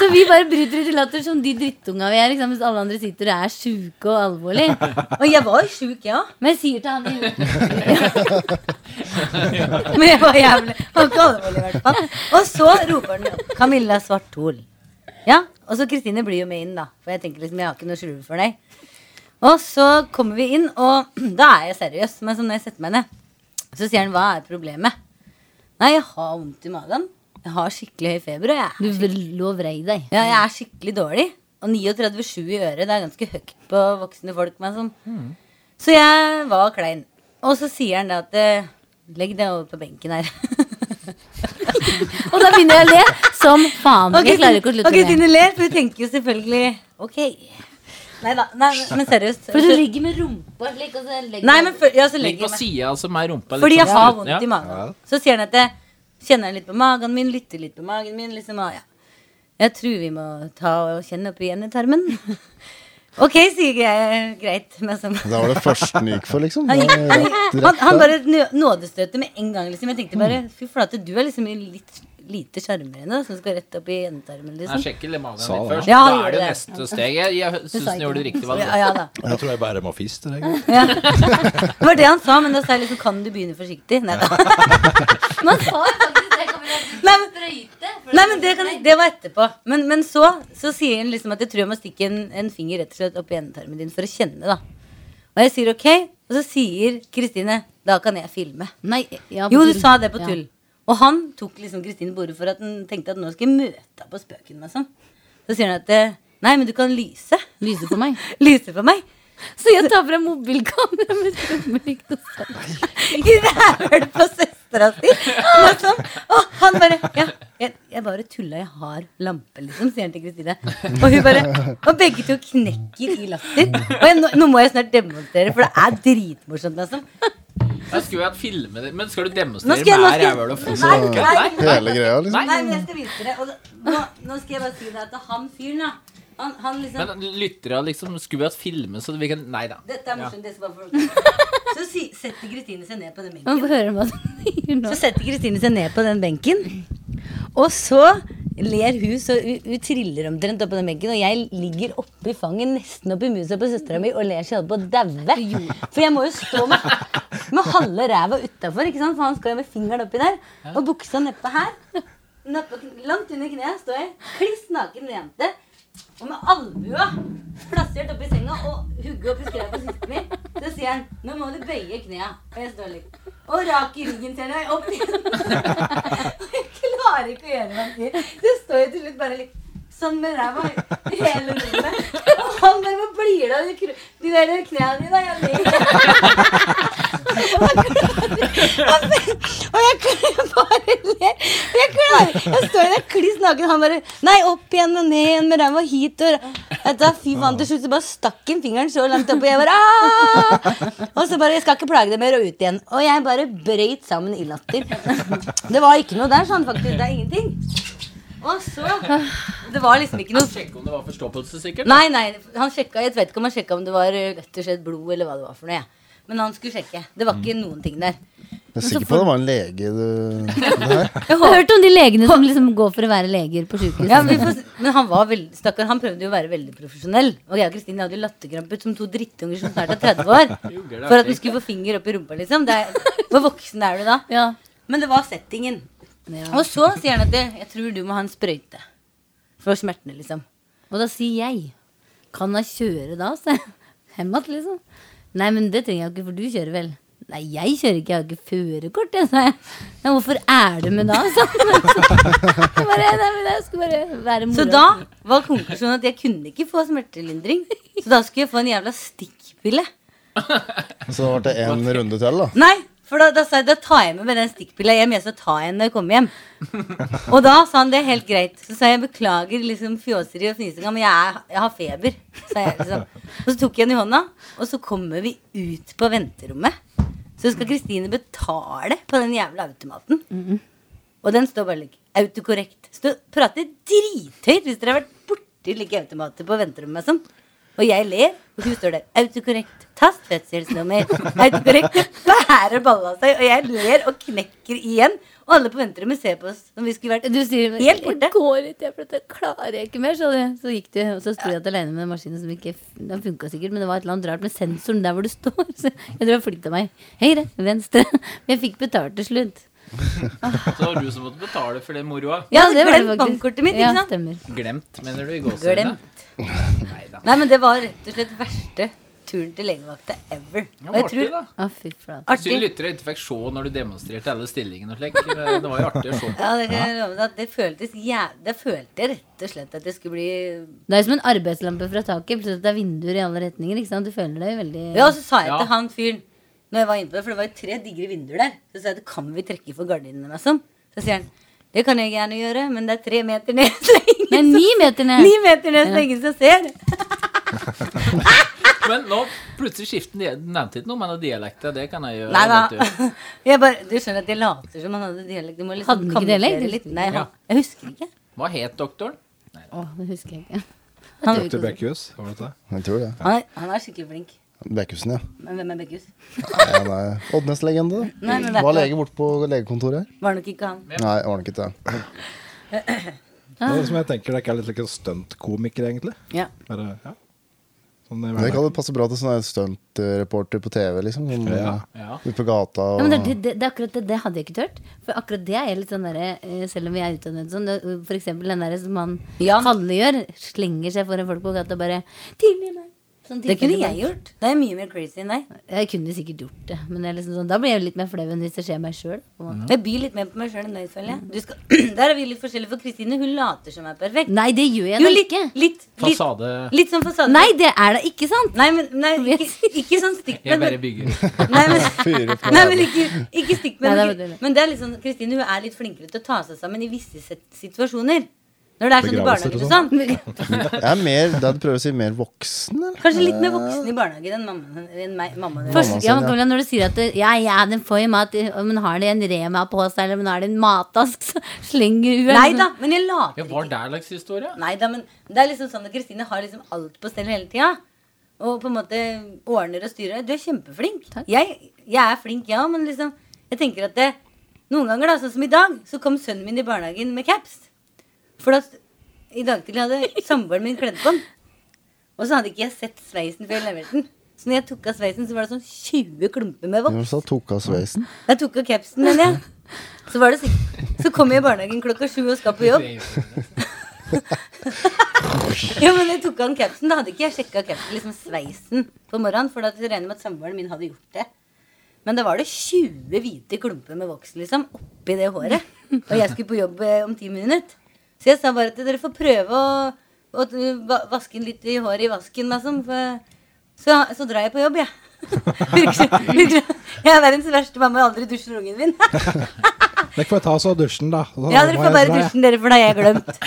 S6: Så vi bare bryter ut i latter som de drittunga vi er, liksom, mens alle andre sitter og er sjuke og alvorlige.
S4: Og jeg var jo sjuk, jeg òg.
S6: Men jeg sier til han i
S4: Men jeg var jævlig han var ikke alvorlig, i hvert fall. Og så roper han opp Camilla Svarthol. Ja, og så Kristine blir jo med inn, da. For jeg tenker liksom, jeg har ikke noe å skjule for deg. Og så kommer vi inn, og da er jeg seriøs. Men så når jeg setter meg ned, så sier han hva er problemet? Nei, jeg har vondt i magen. Jeg har skikkelig høy feber, og jeg er
S6: Du lå og vrei deg.
S4: Ja, jeg er skikkelig dårlig. Og 39,7 i øret, det er ganske høyt på voksne folk. Men sånn. Så jeg var klein. Og så sier han da at eh, Legg deg over på benken her.
S6: Og da begynner jeg å le som faen.
S4: Og
S6: Jeg klarer ikke å slutte
S4: Kristine- og Kristine
S6: å le.
S4: ler, for hun tenker jo selvfølgelig OK. Neida, Nei da. Men seriøst.
S6: For du ligger med rumpa slik, og så legger
S4: Nei, men før- ja, så
S5: Litt
S4: legger
S5: på
S4: jeg meg.
S5: sida som er rumpa. litt
S4: Fordi jeg
S5: sånn
S4: har
S5: slutten,
S4: vondt i magen. Så sier han at jeg kjenner litt på magen min, lytter litt på magen min. Liksom, ah, ja. Jeg tror vi må ta og kjenne opp igjen i tarmen. ok, sier jeg. Greit. Men så,
S1: Det var det første den gikk for, liksom.
S4: han,
S1: Det
S4: gikk,
S1: var
S4: han,
S1: rett-
S4: han,
S1: rett der.
S4: han bare nø- nådestøtte med en gang. Liksom. Jeg tenkte bare fy flate, du er liksom litt lite sjarmerende da, som skal rett opp i endetarmen.
S5: Jeg
S4: Liksom.
S5: sjekker litt magen
S2: Sa
S5: litt
S2: det.
S5: først.
S4: Ja, han
S5: da er
S4: gjorde
S5: det
S4: det.
S5: neste steg. Jeg, jeg syns
S6: sa
S5: hun
S6: ikke
S5: gjorde det riktig valg.
S4: Ja, ja da.
S2: Jeg tror jeg bare må fiste. jeg.
S4: Ja. Det var det han sa, men da sa jeg liksom Kan du begynne forsiktig? Nei da.
S6: Man sa faktisk det. Camilla, at du
S4: Nei, men-
S6: sprøyte, for
S4: Nei, men det, kan, det var etterpå. Men, men så, så sier han liksom at jeg tror jeg må stikke en, en finger rett og slett opp i endetarmen din for å kjenne, da. Og jeg sier ok, og så sier Kristine da kan jeg filme.
S6: Nei, ja,
S4: Jo, du
S6: tull.
S4: sa det på
S6: Ja.
S4: tull. Og han tok liksom Kristine på ordet for at han tenkte at nå skal jeg møte henne på spøken. Liksom. Så sier han at eh, nei, men du kan lyse.
S6: Lyser på meg.
S4: Lyse for meg.
S6: Så jeg tar frem mobilkameraet med trommelykt og sånn.
S4: I rævhøl på søstera si. Liksom. Og han bare ja, jeg, jeg bare tulla, jeg har lampe, liksom, sier han til Kristine. Og hun bare Og begge to knekker i latter. Og jeg, nå, nå må jeg snart demonstrere, for det er dritmorsomt, liksom.
S5: Jeg skulle jo hatt filme det, men skal du
S4: Nå
S5: demonstrere
S4: skal jeg- nå
S5: med her
S4: skal jeg-
S5: rævhøl og
S4: Nei,
S5: fot?
S4: nei.
S1: Hele greia, liksom.
S4: Nei, men jeg skal vise dere. Og da, nå, nå skal jeg bare si deg at han fyren, da, han, han liksom
S5: Men lyttere liksom Skulle vi hatt filme, så vi kan Nei da.
S4: Dette er morsomt. Det skal bare folk Så si, setter Kristine seg ned på den benken.
S6: Man får høre hva du sier nå.
S4: Så setter Kristine seg ned på den benken, og så ler hun så hun, hun triller omtrent oppå den benken. Og jeg ligger oppi fanget, nesten oppi musa på søstera mi, og ler så jeg holder på å daue. For jeg må jo stå med, med halve ræva utafor, for han skal jo med fingeren oppi der. Og buksa nedpå her. Nedpå, kn- langt under kneet står jeg kliss naken jente. Og med albua plassert oppi senga og hugget oppi skrevet på siste min, så sier han 'Nå må du bøye knea'. Og jeg står litt Og rak i ryggen til deg opp igjen. Og jeg klarer ikke å gjøre hva han sier. Så jeg står jo til slutt bare litt sånn med ræva i hele rommet. Og han bare 'Hvor blir det av de kru- de der knea dine?' Jeg ler. Og så- og jeg klarer bare ler. Jeg klarer Jeg står der kliss naken, han bare Nei, opp igjen og ned igjen med ræva hit og Vet du hva, Fy faen, til slutt så bare stakk han fingeren så langt opp, og jeg bare «Ah!» Og så bare Jeg skal ikke plage deg mer, og ut igjen. Og jeg bare brøyt sammen i latter. Det var ikke noe der, sa han faktisk. Det er ingenting. Og så Det var liksom ikke noe
S5: Sjekke om det var forstoppelse, sikkert.
S4: Nei, nei, han sjekka, jeg vet ikke om han sjekka om det var eh, rett og slett blod eller hva det var for noe. jeg. Men han skulle sjekke. Det var ikke noen ting der.
S1: Jeg er sikker på det var en lege du det her.
S6: Jeg har hørt om de legene som liksom går for å være leger på sykehus.
S4: Ja, vi får, s- men han var veldig, stakkar, han prøvde jo å være veldig profesjonell. Og jeg og Kristine hadde jo latterkrampe ut som to drittunger som snart er 30 år. For at vi skulle få finger opp i rumpa, liksom. Det er, hvor voksen er du da?
S6: Ja.
S4: Men det var settingen. Og så sier han at det, jeg tror du må ha en sprøyte. For smertene, liksom.
S6: Og da sier jeg Kan jeg kjøre da? sa jeg. Hjem att, liksom. Nei, men det trenger jeg ikke, for du kjører vel? Nei, jeg kjører ikke, jeg har ikke førerkort, jeg, sa jeg. Nei, hvorfor er du med da? sa han. Jeg bare, nei, men jeg skulle bare være moro.
S4: Så da var konklusjonen at jeg kunne ikke få smertelindring. Så da skulle jeg få en jævla stikkpille.
S1: Så da ble det en runde til, da.
S4: Nei, for da, da sa jeg da tar jeg med meg den stikkpilla hjem. Jeg skal ta en når jeg kommer hjem. Og da sa han det er helt greit. Så sa jeg beklager liksom fjåseri og fnisinga, men jeg, er, jeg har feber. Sa jeg, liksom. Og så tok jeg den i hånda, og så kommer vi ut på venterommet. Så skal Kristine betale på den jævla automaten. Og den står bare like autokorrekt. Stå, prater drithøyt hvis dere har vært borti like automater på venterommet. og Sånn. Og jeg ler, og hun står der. Autokorrekt. Tast fødselsnummer. Autokorrekt. Bærer balla seg, og jeg ler og knekker igjen. Og alle på venterommet ser på oss som vi skulle vært
S6: Du sier
S4: Helt borte.
S6: Jeg går ikke, for dette klarer jeg ikke mer. Så, det, så gikk du, og så sto jeg igjen alene med maskinen som ikke Den funka sikkert, men det var et eller annet rart med sensoren der hvor du står. Så jeg tror jeg flytta meg høyre, venstre. Men jeg fikk betalt til slutt.
S3: Så det var du som måtte betale for den moroa.
S4: Ja, det var det bankkortet mitt, ikke
S6: Ja,
S4: sant?
S6: stemmer.
S3: Glemt, mener du? i
S4: Glemt.
S3: gåseøynene? Neida.
S4: Nei, men det var rett og slett verste turen til legevakta ever.
S3: Ja,
S4: Og jeg
S3: artig,
S4: tror
S3: da.
S6: Å, fy flate.
S3: Synd
S4: Artig.
S3: lyttere ikke fikk se når du demonstrerte alle stillingene og slik. Det var jo artig å se på.
S4: Ja, det kan jeg love deg at det føltes jæv... Det følte jeg rett og slett at det skulle bli
S6: Det er jo som en arbeidslampe fra taket. Plutselig det er vinduer i alle retninger. Ikke sant? Du føler deg veldig
S4: Ja, og så sa jeg
S3: Ja.
S4: til han fyren Når jeg var inne på det, for det var jo tre digre vinduer der Så sa jeg, det kan vi trekke for gardinene liksom Så sier han, det kan jeg gjerne gjøre Men det er tre meter ned Så det er
S6: Nei,
S4: ingen
S6: ni meter
S4: som,
S6: ned!
S4: sånn- ni meter ned, så det er ingen som ser
S3: Men nå plutselig skifter den Du nevnte ikke noe om en av dialektene. Det kan jeg gjøre.
S4: Nei da
S3: vet du.
S4: jeg bare, Du skjønner at jeg later som han hadde dialekt Du må liksom
S6: Hadde han ikke
S4: kamuflere
S6: dialekt?
S4: litt. Nei,
S3: Ja.
S4: han, jeg husker ikke
S3: Hva het doktoren?
S6: Å, det husker jeg ikke.
S2: Til Bekkhus. Var det det?
S1: Jeg tror det.
S4: han er, han er skikkelig flink
S1: Bekkhusen, ja.
S4: Men hvem er Bekkhus?
S1: Nei, Han er Oddnes-legende.
S4: Nei, men det er
S1: Var
S4: ikke-
S1: lege borte på legekontoret.
S4: Var nok ikke han
S1: Nei, var han ikke det.
S2: Det er som jeg tenker, det er ikke litt like stuntkomiker, egentlig.
S4: Ja.
S2: Bare, ja. Sånn i
S1: Det kan
S2: hverdagen.
S1: jo passe bra til sånne stuntreporter på TV, liksom. Som,
S2: Ja.
S3: Ja.
S1: Ute på gata
S6: Ja,
S1: og
S6: men det, det, det, akkurat det, det hadde jeg ikke tørt. For akkurat det er jeg litt sånn derre eh, Selv om vi er utdannet sånn, det, for eksempel den derre som han
S4: Ja.
S6: Kalle gjør, slenger seg foran folk på gata og bare Tilgi meg! Sånn
S4: Det kunne
S6: tilfeldig
S4: jeg gjort Det er mye mer crazy enn deg
S6: bare. Jeg kunne sikkert gjort det, men det er liksom sånn, da blir jeg jo litt mer flau enn hvis det skjer meg sjøl.
S4: Jeg byr litt mer på meg selv enn deg, føler jeg Du skal, Der er vi litt forskjellige for Kristine Hun later som er perfekt
S6: Nei, det gjør jeg
S4: Jo,
S6: da
S4: litt,
S6: ikke.
S4: litt, litt,
S3: Fasade
S4: litt sånn fasade.
S6: Nei, det er da ikke sant!
S4: Nei, men nei, ikke, ikke sånn stikk
S3: Jeg
S4: med
S3: bare bygger.
S4: Nei, men,
S1: fyrer på.
S4: nei, men ikke, ikke stikk med men,
S6: Nei, det er veldig-
S4: men det er litt sånn Kristine hun er litt flinkere til å ta seg sammen i visse set- situasjoner. Når det er sånn i
S2: Begravelser
S4: barnehagen og sånn.
S1: Jeg er mer, det du prøver å si, mer voksen, eller?
S4: Kanskje litt mer voksen i barnehagen enn mammaen enn meg. Mammaen
S6: Først,
S1: Mamma sin,
S6: ja, men
S1: ja.
S6: Camilla, når du sier at det- ja, ja, den får jo mat, eh, men har det en Rema på seg, eller men har det en matask, så slenger hun
S4: Nei da, men jeg later
S3: Ja, var det en slags historie?
S4: Nei da, men det er liksom sånn at Kristine har liksom alt på stell hele tida. Og på en måte ordner og styrer. Du er kjempeflink.
S6: Takk.
S4: Jeg, jeg er flink, jeg ja, òg, men liksom Jeg tenker at det, noen ganger, da, sånn som i dag, så kom sønnen min i barnehagen med caps. For da i dag tidlig hadde samboeren min kledd på den. Og så hadde ikke jeg sett sveisen før jeg leverte den. Så når jeg tok av sveisen, så var det sånn 20 klumper med voks.
S1: Hvem sa tok av sveisen?
S4: Jeg tok av capsen, mener jeg. Så, var det sikk- så kom jeg i barnehagen klokka sju og skal på jobb. Ja, men jeg tok av den capsen. Da hadde ikke jeg sjekka capsen, liksom sveisen på morgenen. For da regner jeg med at samboeren min hadde gjort det. Men da var det 20 hvite klumper med voks liksom, oppi det håret. Og jeg skulle på jobb eh, om ti minutter. Så jeg sa bare at dere får prøve å, å eh, va- vaske inn litt i håret i vasken, liksom. For, så, så drar jeg på jobb, jeg. Virker som- virker som- jeg er verdens verste mamma, jeg aldri dusjer ungen min.
S2: Dere får ta oss av dusjen, da. Så
S4: Ja, dere
S2: må
S4: får
S2: jeg
S4: bare
S2: dra, jeg.
S4: dusjen dere, for det har jeg glemt.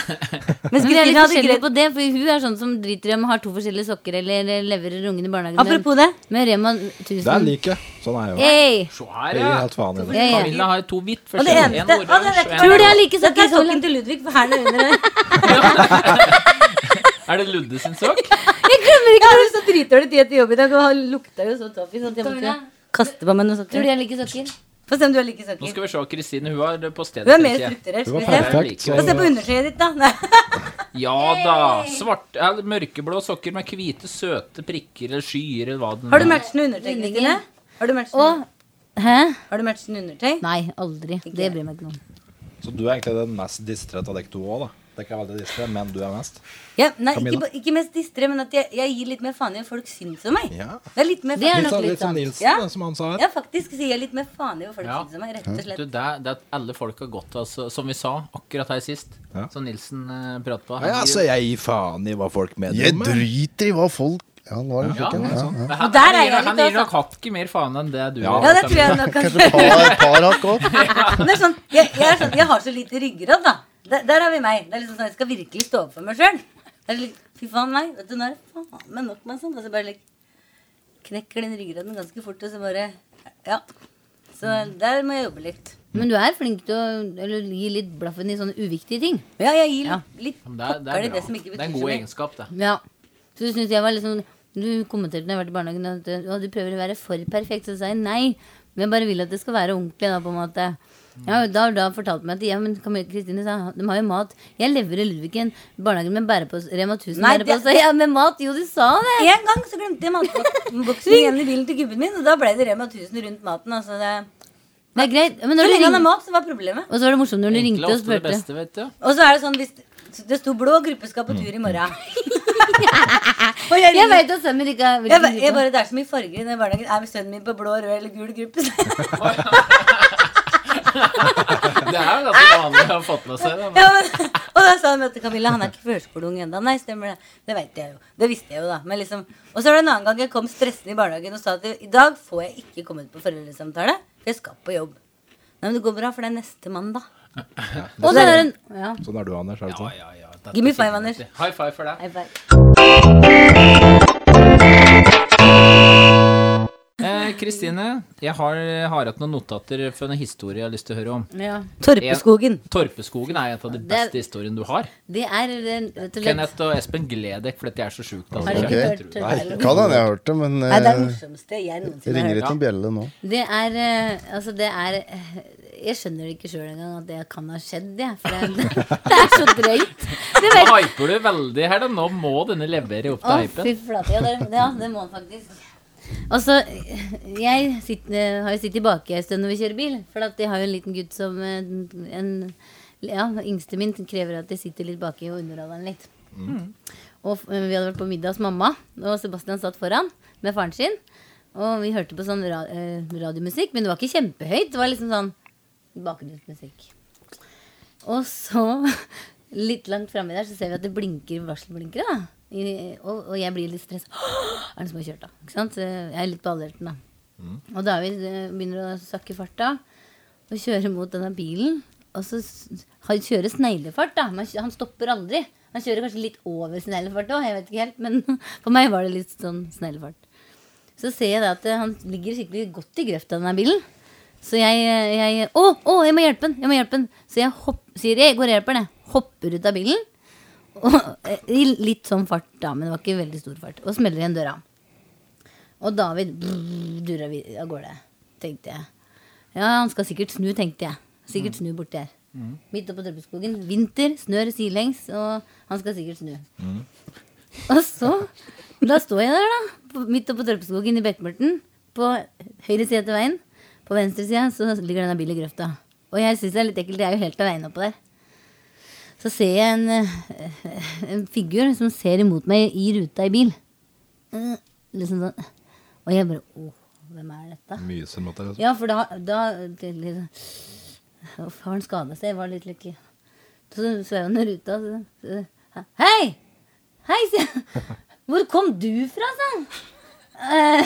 S4: Mens
S6: Men vi er litt
S4: Kristine hadde
S6: forskjellige
S4: greit
S6: på det, for hun er sånn som driter i om hun har to forskjellige sokker eller leverer ungen i barnehagen.
S4: Apropos det.
S6: Men Rema
S2: Det
S6: 1000
S2: er like. Sånn er jeg jo.
S6: Hey!
S3: Se her,
S2: Det
S3: ja.
S2: er helt vanlig.
S6: Ja, ja.
S3: Camilla har to hvitt
S4: Og det
S3: forskjellige.
S4: eneste
S3: En
S4: Å, det
S3: oransje og
S4: vet jeg.
S3: en
S6: Tror du det
S3: blå.
S6: er like
S4: Dette er
S6: sokker som
S4: sokken til Ludvig, for her nede under
S3: Er det Ludde sin sokk?
S4: Jeg glemmer ikke Jeg har så dritdårlig tid etter jobb i dag, og han lukta jo så taffis at jeg måtte
S6: Tone.
S4: kaste på meg noen
S6: Tror du
S4: sokker.
S6: jeg liker sokker?
S4: Få se om du har like
S3: Nå
S4: sokker.
S3: skal vi se, Kristine, hun var på stedet.
S4: Du er mer
S3: ser jeg.
S4: strukturert.
S2: Det
S4: Skal
S2: var
S4: vi se.
S2: perfekt.
S4: Få se
S2: Så,
S4: på undertøyet ditt, da. Nei.
S3: Ja da. Svart, eller mørkeblå sokker med hvite, søte prikker eller skyer eller hva den
S4: Har du matchende undertøy,
S6: Rundingen.
S4: Kristine? Har du matchende,
S6: Og Hæ?
S4: har du matchende undertøy?
S6: Nei, aldri. Det bryr meg ikke noe om.
S7: Så du er egentlig den mest distré av dere to òg, da. Dere er veldig distré, men du er mest.
S4: Ja, nei, ikke,
S7: Camilla?
S4: ba- ikke mest distre, men at jeg, jeg gir litt mer faen i hva folk syns om meg.
S7: Ja.
S4: Det er litt mer
S6: Det er
S4: faen.
S7: Litt
S6: nok
S7: sånn,
S6: litt
S7: litt sånn
S6: sant.
S7: Nilsen,
S4: Ja.
S2: altså.
S7: da, som han sa her.
S4: Ja, faktisk sier jeg litt mer faen i hva folk
S3: Ja.
S4: syns om meg, rett og
S3: Du,
S4: slett.
S3: det, er- det er at alle folk har gått av, så- som vi sa akkurat her sist,
S7: Ja.
S3: som Nilsen eh, pratet på.
S7: Ja,
S3: Han
S7: så
S3: gir-
S7: jeg gir faen i hva folk mener
S1: Jeg
S7: om meg.
S1: driter i hva folk Ja, nå er det
S3: Ja,
S1: slik.
S3: men
S1: Ja, ja.
S3: han,
S4: der
S3: han,
S4: er jeg
S3: gir, han
S4: litt,
S3: gir nok hakket mer faen enn det du
S7: Ja.
S3: gjør.
S4: Ja, det tror jeg nok.
S1: Kanskje ta et par hakk opp?
S4: Men Det er sånn, jeg, jeg, er sånn, jeg har så lite ryggrad, da. Der, der har vi meg. Det er liksom sånn, Jeg skal virkelig stå opp for meg sjøl. Fy faen meg. Vet du, nå er det faen meg nok med sånn. Og så bare like, knekker den ryggraden ganske fort, og så bare Ja. Så der må jeg jobbe litt.
S6: Men du er flink til å eller, gi litt blaffen i sånne uviktige ting.
S4: Ja, jeg gir
S6: Ja.
S4: litt
S3: Men Det er, det,
S4: pokker i
S3: er
S4: det som
S3: bra.
S4: ikke
S3: det er en
S4: betyr
S3: god
S4: så mye.
S3: egenskap, det.
S6: Ja. Så du synes jeg var litt sånn Du kommenterte når jeg var i barnehagen at eh, «Å, du prøver å være for perfekt. Så sa jeg nei. Men jeg bare vil at det skal være ordentlig, da, på en måte. Ja, og da, da fortalte meg at ja, men Camille Kristine sa de har jo mat. Jeg leverer Ludvigen barnehagen med bærepose, Rema 1000
S4: Nei, det-
S6: bærepose. Ja, med mat! Jo, du sa det!
S4: En gang så glemte jeg matboksen igjen i bilen til gubben min, og da ble det Rema 1000 rundt maten. Altså det,
S6: Det er greit. Men
S4: så
S6: når du
S4: lenge han har
S6: ringte,
S4: mat, så var problemet.
S6: og så var det morsomt når du
S3: Enkle
S6: ringte
S3: er
S6: og
S3: ofte det
S6: spurte.
S3: beste, vet du.
S4: Og så er det sånn hvis det sto blå gruppe skal på tur i morgen. og jeg,
S6: Jeg
S4: ringer,
S6: veit at Samir ikke er
S4: jeg, ba- jeg bare, Det er så mye farger i den barnehagen. Er sønnen min på blå, rød eller gul gruppe?
S3: Det er jo ganske vanlig å ha fått med seg. Da.
S4: ja, men, og da sa han at Camilla, han er ikke førskoleung ennå. Nei, stemmer det. Det vet jeg jo. Det visste jeg jo, da. Men liksom, og så var det en annen gang jeg kom stressende i barnehagen og sa at i dag får jeg ikke komme ut på foreldresamtale, for jeg skal på jobb. Nei, men det går bra, for det er neste mandag.
S6: Og så er det en ja.
S7: Sånn er du, Anders. Er det sånn?
S3: Ja, ja, dette
S4: Give me five,
S3: finner vi
S4: Anders.
S3: ut i. High five for deg.
S4: High five.
S3: Eh, Kristine, jeg har, har hatt noen notater for en historie jeg har lyst til å høre om.
S6: ja.
S4: Torpeskogen.
S3: Torpeskogen er en av de
S6: Det-
S3: beste historiene du har.
S6: Det er eh, rett og slett
S3: Kenneth og Espen, gled dere, for dette er så sjukt. Altså.
S6: Har du ikke
S1: Ok.
S6: hørt det? eller?
S1: Kan hende jeg har hørt det, men
S4: Nei, det er det
S1: eh,
S4: morsomste jeg
S1: det
S4: noensinne har
S1: ringer
S4: hørt.
S1: ikke en bjelle nå.
S6: Det er eh, Altså, det er eh, Jeg skjønner det ikke sjøl engang at det kan ha skjedd, jeg. For det er, det er så drøyt. Du
S3: Nå
S6: vet
S3: hyper du veldig her, da. Nå må denne levere opp
S6: Å,
S3: til hypen.
S6: fy flate. Ja, det, ja, det må han faktisk. Altså, jeg sitter, har jo sittet tilbake en stund når vi kjører bil. For at jeg har jo en liten gutt som eh, en, Ja, yngste min krever at jeg sitter litt baki og underholder han litt. Og f- eh, vi hadde vært på middag hos mamma, og Sebastian satt foran med faren sin. Og vi hørte på sånn ra eh, radiomusikk, men det var ikke kjempehøyt. Det var liksom sånn bakgrunnsmusikk. Og så, litt langt framme der, så ser vi at det blinker varselblinkere. da. I, og, og jeg blir litt stressa. Er det som har kjørt, da? Ikke sant? Så Jeg er litt på alerten, da. Og da er vi, eh, begynner å sakke farta og kjøre mot denne bilen. Og så s- han kjører sneglefart, da. men Han stopper aldri. Han kjører kanskje litt over sneglefart òg, jeg vet ikke helt. Men for meg var det litt sånn sneglefart. Så ser jeg da at eh, han ligger skikkelig godt i grøfta, denne bilen. Så jeg, eh, jeg Å, å, jeg må hjelpe han! Jeg må hjelpe han! Så jeg hopp, sier jeg går og hjelper han, jeg. Hopper ut av bilen. Og, eh, I litt sånn fart, da, men det var ikke veldig stor fart. Og smeller igjen døra. Og David brrr, durer vi av gårde, tenkte jeg. Ja, han skal sikkert snu, tenkte jeg. Sikkert snu bort der. Midt oppå Trøbbelskogen. Vinter, snør sidelengs, og han skal sikkert snu. Og så Da står jeg der, da. på- Midt oppå Trøbbelskogen i Bekkmørten. På høyre side til veien. På venstre side så ligger denne bilen i grøfta. Og jeg syns det er litt ekkelt. Jeg er jo helt av veien oppå der. Så ser jeg en, eh, en figur som ser imot meg i ruta i bil. Eh, Liksom sånn. Og jeg bare Å, hvem er dette?
S7: Myser mot deg.
S6: Ja, for da, da det, liksom, Uff, sånn, har han skada seg? Var litt lykkelig. Så så jeg under ruta, så, så Hei! Hei, sier jeg. Hvor kom du fra, sa han. Eh,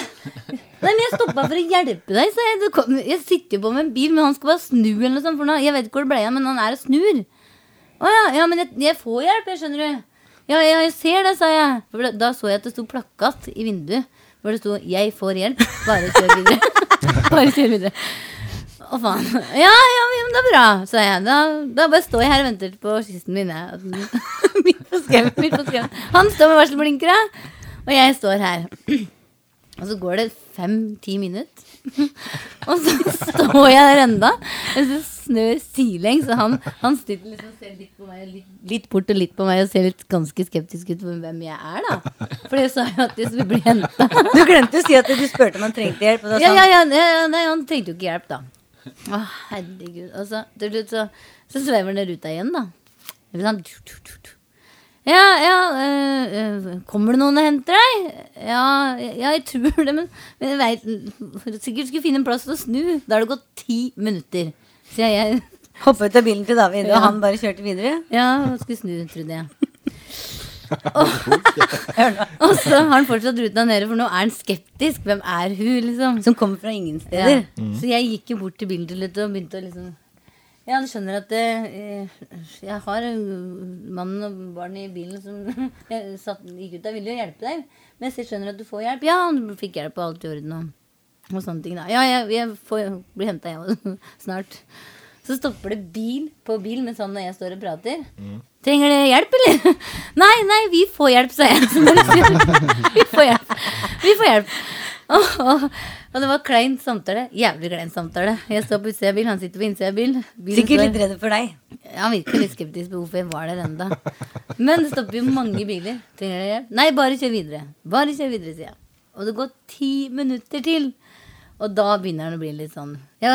S6: nei, men jeg stoppa for å hjelpe deg, sa jeg. Du kom, jeg sitter jo på med en bil, men han skal bare snu eller noe sånt. For nå, jeg vet ikke hvor det ble av, men han er og snur. Å ja, ja, men jeg, jeg får hjelp, jeg skjønner du. Ja, ja, jeg ser det, sa jeg. For da, da så jeg at det sto plakat i vinduet hvor det sto 'Jeg får hjelp, bare kjør videre'. bare kjør videre. Å, faen. Ja, ja, men ja, men det er bra, sa jeg. Da, da bare står jeg her og venter på kisten min. jeg. At den- midt på skauen. midt på skauen. Han står med varselblinkere, og jeg står her. Og så går det fem-ti minutter. Og så står jeg der enda Og så snør sidelengs. Og han, han sitter liksom og ser litt på meg og litt, litt bort og litt på meg og ser litt ganske skeptisk ut på hvem jeg er, da. For jeg sa jo at jeg skulle bli henta.
S4: Du glemte å si at du spurte om han trengte hjelp. Og da sa
S6: Ja,
S4: han
S6: ja, ja, ja, ja, nei, han trengte jo ikke hjelp, da. Å, herregud. Og så til slutt så, så svever den ruta igjen, da. Det blir sånn tju, tju, tju, tju. Ja, ja øh, øh, Kommer det noen og henter deg? Ja, ja jeg tror det, men, men jeg veit Sikkert skulle finne en plass til å snu. Da har det gått ti minutter. Så jeg, jeg
S4: hoppa ut av bilen til David,
S6: Ja.
S4: og han bare kjørte videre.
S6: ja, han skulle snu, trodde jeg. Og, og så har han fortsatt ruta nede, for nå er han skeptisk. Hvem er hun, liksom?
S4: Som kommer fra ingen
S6: Ja.
S4: steder.
S6: Så jeg gikk jo bort til bildet litt og begynte å liksom Ja, du skjønner at eh, jeg har eh, mannen og barnet i bilen som jeg satt, gikk ut der, ville jo hjelpe deg. Men jeg skjønner at du får hjelp. Ja, han fikk hjelp og alt i orden. Og og sånne ting. Da. Ja, jeg, jeg får bli henta, jeg også, snart. Så stopper det bil på bil mens han og jeg står og prater. Trenger dere hjelp, eller? Nei, nei, vi får hjelp, sa jeg. Så dere sier- vi får hjelp. Vi får hjelp. Og, og, og det var klein samtale. Jævlig klein samtale. Jeg står på utsida av bil, han sitter på innsida av bil. Bilen
S4: Sikkert
S6: står-
S4: litt redd for deg.
S6: han virker litt skeptisk på hvorfor jeg var der enda. Men det stopper jo mange biler. Trenger dere hjelp? Nei, bare kjør videre. Bare kjør videre, sier jeg. Og det går ti minutter til. Og da begynner han å bli litt sånn ja,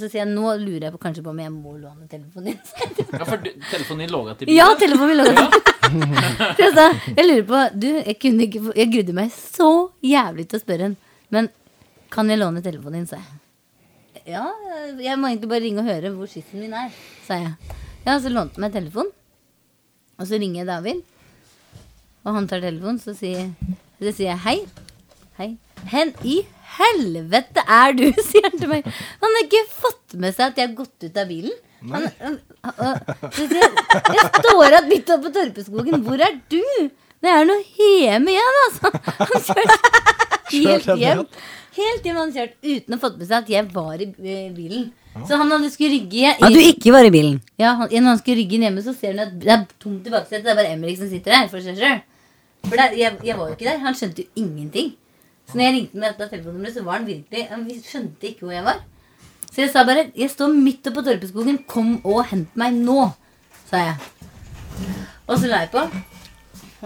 S6: Så sier jeg nå lurer jeg på, kanskje på om jeg må låne telefonen din.
S3: Ja, for du- telefonen din lå igjen til bilen.
S6: ja, telefonen min lå der. Så jeg sa jeg lurer på Du, jeg kunne ikke få- Jeg grudde meg så jævlig til å spørre henne. Men kan jeg låne telefonen din, sa jeg. Ja, jeg må egentlig bare ringe og høre hvor skissen min er, sa jeg. Ja, så lånte han meg telefonen. Og så ringer jeg David. Og han tar telefonen, så sier, så sier jeg hei. Hei. Hen i helvete er du, sier han til meg. Han har ikke fått med seg at jeg har gått ut av bilen. Han, og- og- så sier jeg, jeg står igjen midt oppe på Torpeskogen. Hvor er du? Det er noe hjemme igjen, altså. Han kjørte helt hjem. Helt hjem han kjørte uten å ha fått med seg at jeg var i eh, bilen. Så han hadde skulle rygge
S4: At du ikke var i bilen.
S6: ja, han, når han skulle rygge inn hjemme, så ser han at det er tomt i baksetet. Det er bare Emrik som sitter der for seg selv. For der, jeg, jeg var jo ikke der. Han skjønte jo ingenting. Så når jeg ringte med dette telefonnummeret, så var han virkelig Han vi- skjønte ikke hvor jeg var. Så jeg sa bare 'Jeg står midt oppe på Torpeskogen. Kom og hent meg nå', sa jeg. Og så la jeg på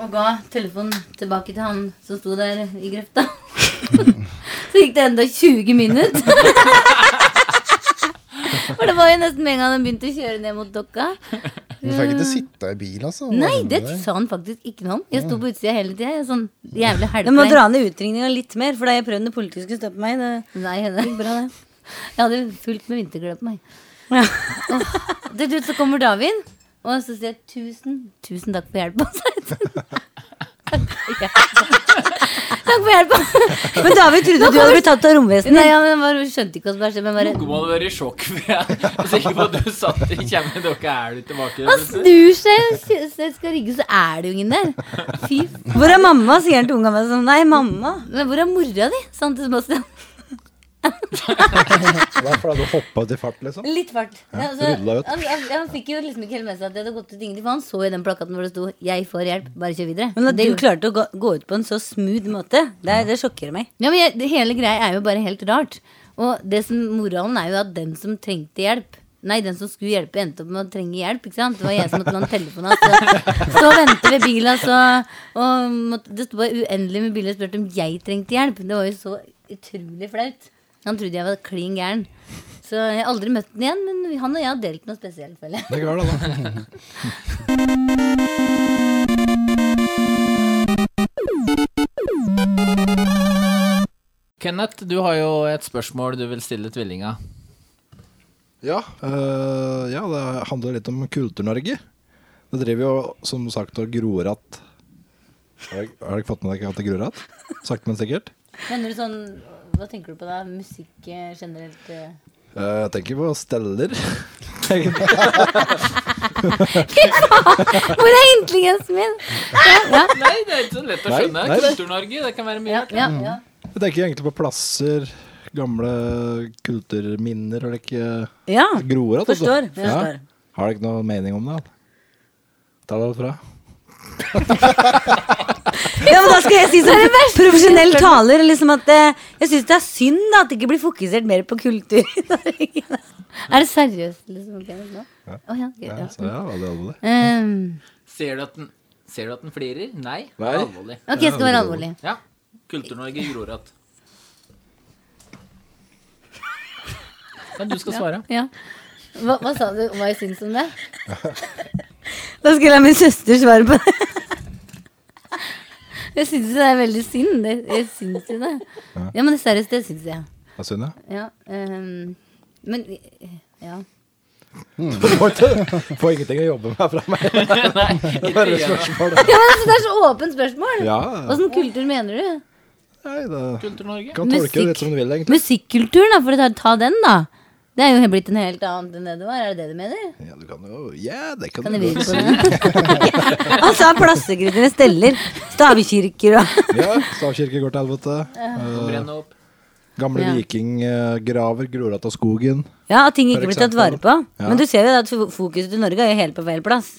S6: og ga telefonen tilbake til han som sto der i grøfta. så gikk det enda 20 minutter. For det var jo nesten med en gang han begynte å kjøre ned mot Dokka.
S1: Du fikk ikke sitte i bil, altså? Hva
S6: Nei,
S1: hender
S6: det
S1: deg?
S6: sa han faktisk ikke noe om. Jeg sto på utsida hele tida. jeg Sånn jævlig
S4: Du må
S6: halvveis.
S4: dra ned utringninga litt mer, for da jeg prøvde når politiet skulle stoppe meg. Det
S6: Nei, det gikk bra, det. Jeg hadde fullt med vinterklær på meg.
S4: Ja.
S6: Åh, det, du, så kommer David, og så sier jeg tusen, tusen takk for hjelpa. Takk for hjelpa.
S4: Men David trodde du hadde blitt tatt av
S6: Nei,
S4: romvesenet.
S6: ja, men bare, skjønte ikke hva som skjedde. Men bare
S3: Noe må du være i sjokk for. Jeg er sikker på at du satt i kjemmen. Dere er du tilbake.
S6: han snur seg og sy- så jeg skal rigge, så er det jo ingen der. Fy f-
S4: Hvor er mamma? sier han til unga mine. Sånn, Nei, mamma.
S6: Men hvor er mora di? sa han til Sebastian.
S7: Det er fordi du hoppa ut i fart, liksom.
S6: Litt fart. Ja, altså,
S7: rullet ut.
S6: han, han, han fikk jo liksom ikke helt med seg at det hadde gått ut ingenting, for han så i den plakaten hvor det sto 'Jeg får hjelp, bare kjør videre'.
S4: Men at du
S6: Det gjorde-
S4: klarte å gå, gå ut på en så smooth måte, det, er- det sjokkerer meg.
S6: ja, men jeg, det hele greia er jo bare helt rart. Og det som moralen er jo at den som trengte hjelp Nei, den som skulle hjelpe, endte opp med å trenge hjelp. ikke sant? Det var jeg som måtte låne telefonen hans. Så, så og vente ved bilen, så og måtte, Det sto bare uendelig med biler og spurte om jeg trengte hjelp. Det var jo så utrolig flaut. Han trodde jeg var klin gæren. Så jeg har aldri møtt den igjen, men han og jeg har delt noe spesielt, føler jeg.
S7: Det gjør det, da.
S3: Kenneth, du har jo et spørsmål du vil stille tvillinga.
S7: Ja, øh, ja, det handler litt om Kultur-Norge. Det driver jo som sagt og gror att. Har dere- har dere fått med dere at det gror att? Sakte, men sikkert.
S6: Mener du sånn Hva tenker du på da? Musikk eh, generelt? eh?
S7: Eh, jeg tenker på steller. Egentlig.
S6: Hvor er intelligensen min?
S3: Nei, det er ikke så lett å
S7: Nei,
S3: skjønne.
S7: nei, det-
S3: Kultur-Norge, det kan være mye.
S6: Ja, ja, ja.
S7: Jeg tenker egentlig på plasser, gamle kulturminner og like
S4: Ja,
S7: gror att. altså.
S4: Ah, forstår.
S7: Ja.
S4: forstår.
S7: Har dere ikke noe mening om det? Ta det fra.
S4: Ja, men da skal jeg si som profesjonell taler liksom at eh, jeg syns det er synd da, at det ikke blir fokusert mer på kultur i Norge.
S6: Er det seriøst, liksom? ok, nå? Å, ja, gøy, ja.
S7: Så ja, det er alvorlig.
S6: Ehm,
S3: Ser du at den, ser du at den flirer? Nei. det
S7: Nei.
S3: er Alvorlig.
S6: ok, jeg skal være alvorlig.
S3: Ja. Kultur-Norge grorat. Ja, du skal svare.
S6: Ja. Hva, hva sa du? Hva jeg syns om det?
S4: Da skal jeg la min søster svare på det.
S6: Jeg syns det er veldig synd. Det, jeg syns jo det. Ja, men seriøst, det syns jeg.
S7: Det er synd, ja.
S6: Ja, ehm, men ja.
S7: Mm. Får ingenting å jobbe med fra meg.
S3: Ikke gjør
S6: ja men altså, det er så åpent spørsmål!
S7: Ja,
S6: Åssen kultur mener du?
S7: nei, det
S3: Kultur-Norge.
S7: kan tolke det
S6: Musikk.
S7: litt som du vil, egentlig.
S6: Musikkulturen, da, for å ta, ta den, da. Det er jo blitt en helt annen enn det det var. Er det det du mener?
S7: Ja, du kan jo Ja, det kan,
S6: Kan jeg
S7: du
S6: vri
S7: godt
S6: på
S7: si.
S6: den?
S4: Altså er plassegrytene steller, stavkirker og
S7: Ja, Stavkirke går til helvete. Eh,
S3: Brenn opp.
S7: gamle
S6: Ja.
S7: vikinggraver, Grorata skogen.
S4: Ja, at ting
S7: For
S4: ikke blir tatt
S7: eksempel.
S4: vare på.
S7: Ja.
S4: Men du ser jo da at fo- fokuset i Norge er jo helt på feil plass.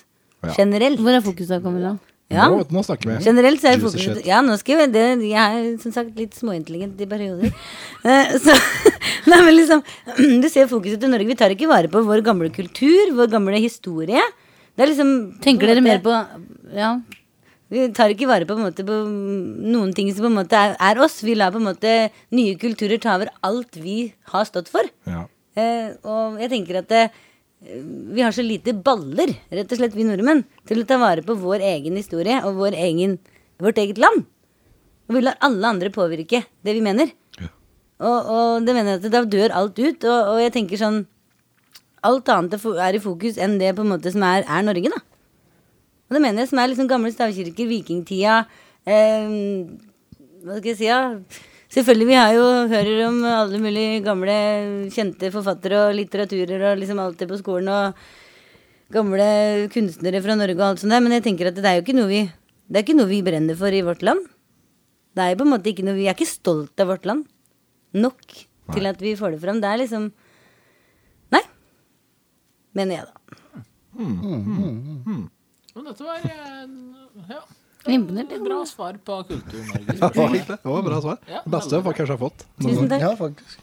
S7: Ja.
S4: Generelt.
S6: Hvor er fokuset da, Camilla?
S4: Ja.
S7: Nå, vet du, nå snakker vi.
S4: Generelt så er
S7: Juicy
S4: fokuset
S7: shit.
S4: Ja, nå skal jeg det, Jeg er som sagt litt småintelligent i perioder. Eh, så Nei, men liksom Du ser fokuset til Norge. Vi tar ikke vare på vår gamle kultur, vår gamle historie. Det er liksom
S6: Tenker dere mer på Ja.
S4: Vi tar ikke vare på, på, en måte, på noen ting som på en måte er, er oss. Vi lar på en måte nye kulturer ta over alt vi har stått for.
S7: Ja.
S4: Eh, og jeg tenker at eh, vi har så lite baller, rett og slett, vi nordmenn, til å ta vare på vår egen historie og vår egen, vårt eget land. Og vi lar alle andre påvirke det vi mener. Og, og det mener jeg at da dør alt ut. Og, og jeg tenker sånn Alt annet er fo- er i fokus enn det på en måte som er, er Norge, da. Og det mener jeg som er liksom gamle stavkirker, vikingtida eh, Hva skal jeg si, ja? Selvfølgelig, vi har jo hører om alle mulige gamle kjente forfattere og litteraturer og liksom alt det på skolen og gamle kunstnere fra Norge og alt sånt der, men jeg tenker at det er jo ikke noe vi det er ikke noe vi brenner for i vårt land. Det er jo på en måte ikke noe Vi er ikke stolt av vårt land nok til at vi får det fram. Det er liksom Nei, mener jeg, da.
S3: Men dette var eh, ja,
S6: Jeg er imponert. jeg.
S3: bra svar på Kultur-Norge.
S7: Det var egentlig- det var bra svar.
S3: Ja,
S7: Det beste jeg kanskje har fått.
S6: sånn
S4: Tusen takk.
S1: Ja, faktisk.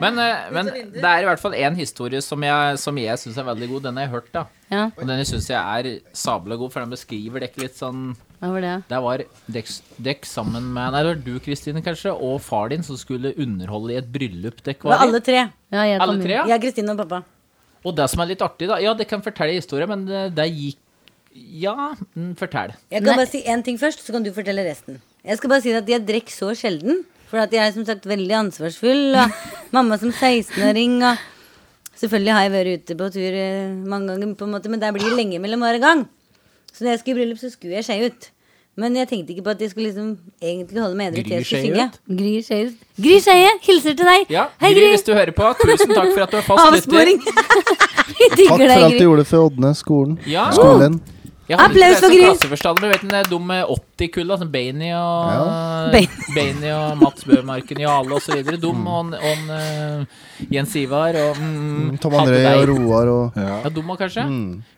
S3: Men, eh, men det er i hvert fall én historie som jeg, som jeg syns er veldig god. Den har jeg hørt, da.
S6: Ja,
S3: Og den syns jeg er sabla god, for den beskriver dekk litt sånn
S6: hva var det?
S3: Der var dekk, dekk sammen med Nei, det var du, Kristine, kanskje, og far din som skulle underholde i et bryllup. Dekk
S4: Det var
S3: var
S4: alle
S3: det.
S4: tre.
S6: Ja, jeg kom
S3: Alle tre, ja?
S6: inn.
S4: Jeg, Kristine og pappa.
S3: Og det som er litt artig, da Ja, det kan fortelle historien, men det, det gikk Ja, mm, fortell.
S4: Jeg kan
S6: Nei.
S4: bare si én ting først, så kan du fortelle resten. Jeg skal bare si at jeg drekk så sjelden. For at jeg er som sagt veldig ansvarsfull. Og mamma som 16-åring. Og selvfølgelig har jeg vært ute på tur eh, mange ganger, på en måte, men der blir det lenge mellom hver gang. Så når jeg skulle i bryllup, så skulle jeg skje ut. Men jeg tenkte ikke på at jeg skulle liksom egentlig holde meg edru til
S3: Gry
S4: jeg skulle
S3: skje
S4: synge.
S3: ut?
S6: Gry Skeie. Gry Skeie hilser til deg.
S3: Ja,
S6: Hei,
S3: Gry,
S6: Gry.
S3: hvis du hører på, tusen takk for at du er fast lytter.
S4: Avsporing!
S6: Vi
S1: Takk
S6: digger
S1: for
S6: deg,
S1: alt du
S6: Gry.
S1: gjorde for Odnes skolen.
S3: Ja.
S1: Skolen.
S3: Jeg hadde
S4: Applaus
S3: ikke
S4: for
S3: lest
S4: Gry.
S3: klasseforstander, men vet du, de dumme 80-kulla, som Bainey og
S4: Bainey.
S3: Bainey og Mats Bømarken, Jale og så videre. Dum
S1: Mm.
S3: og, og eh, Jens Ivar og mm,
S1: Tom André og
S3: hadde
S1: Mm.
S3: deg.
S1: Roar og
S7: Ja.
S3: Ja, dum og kanskje.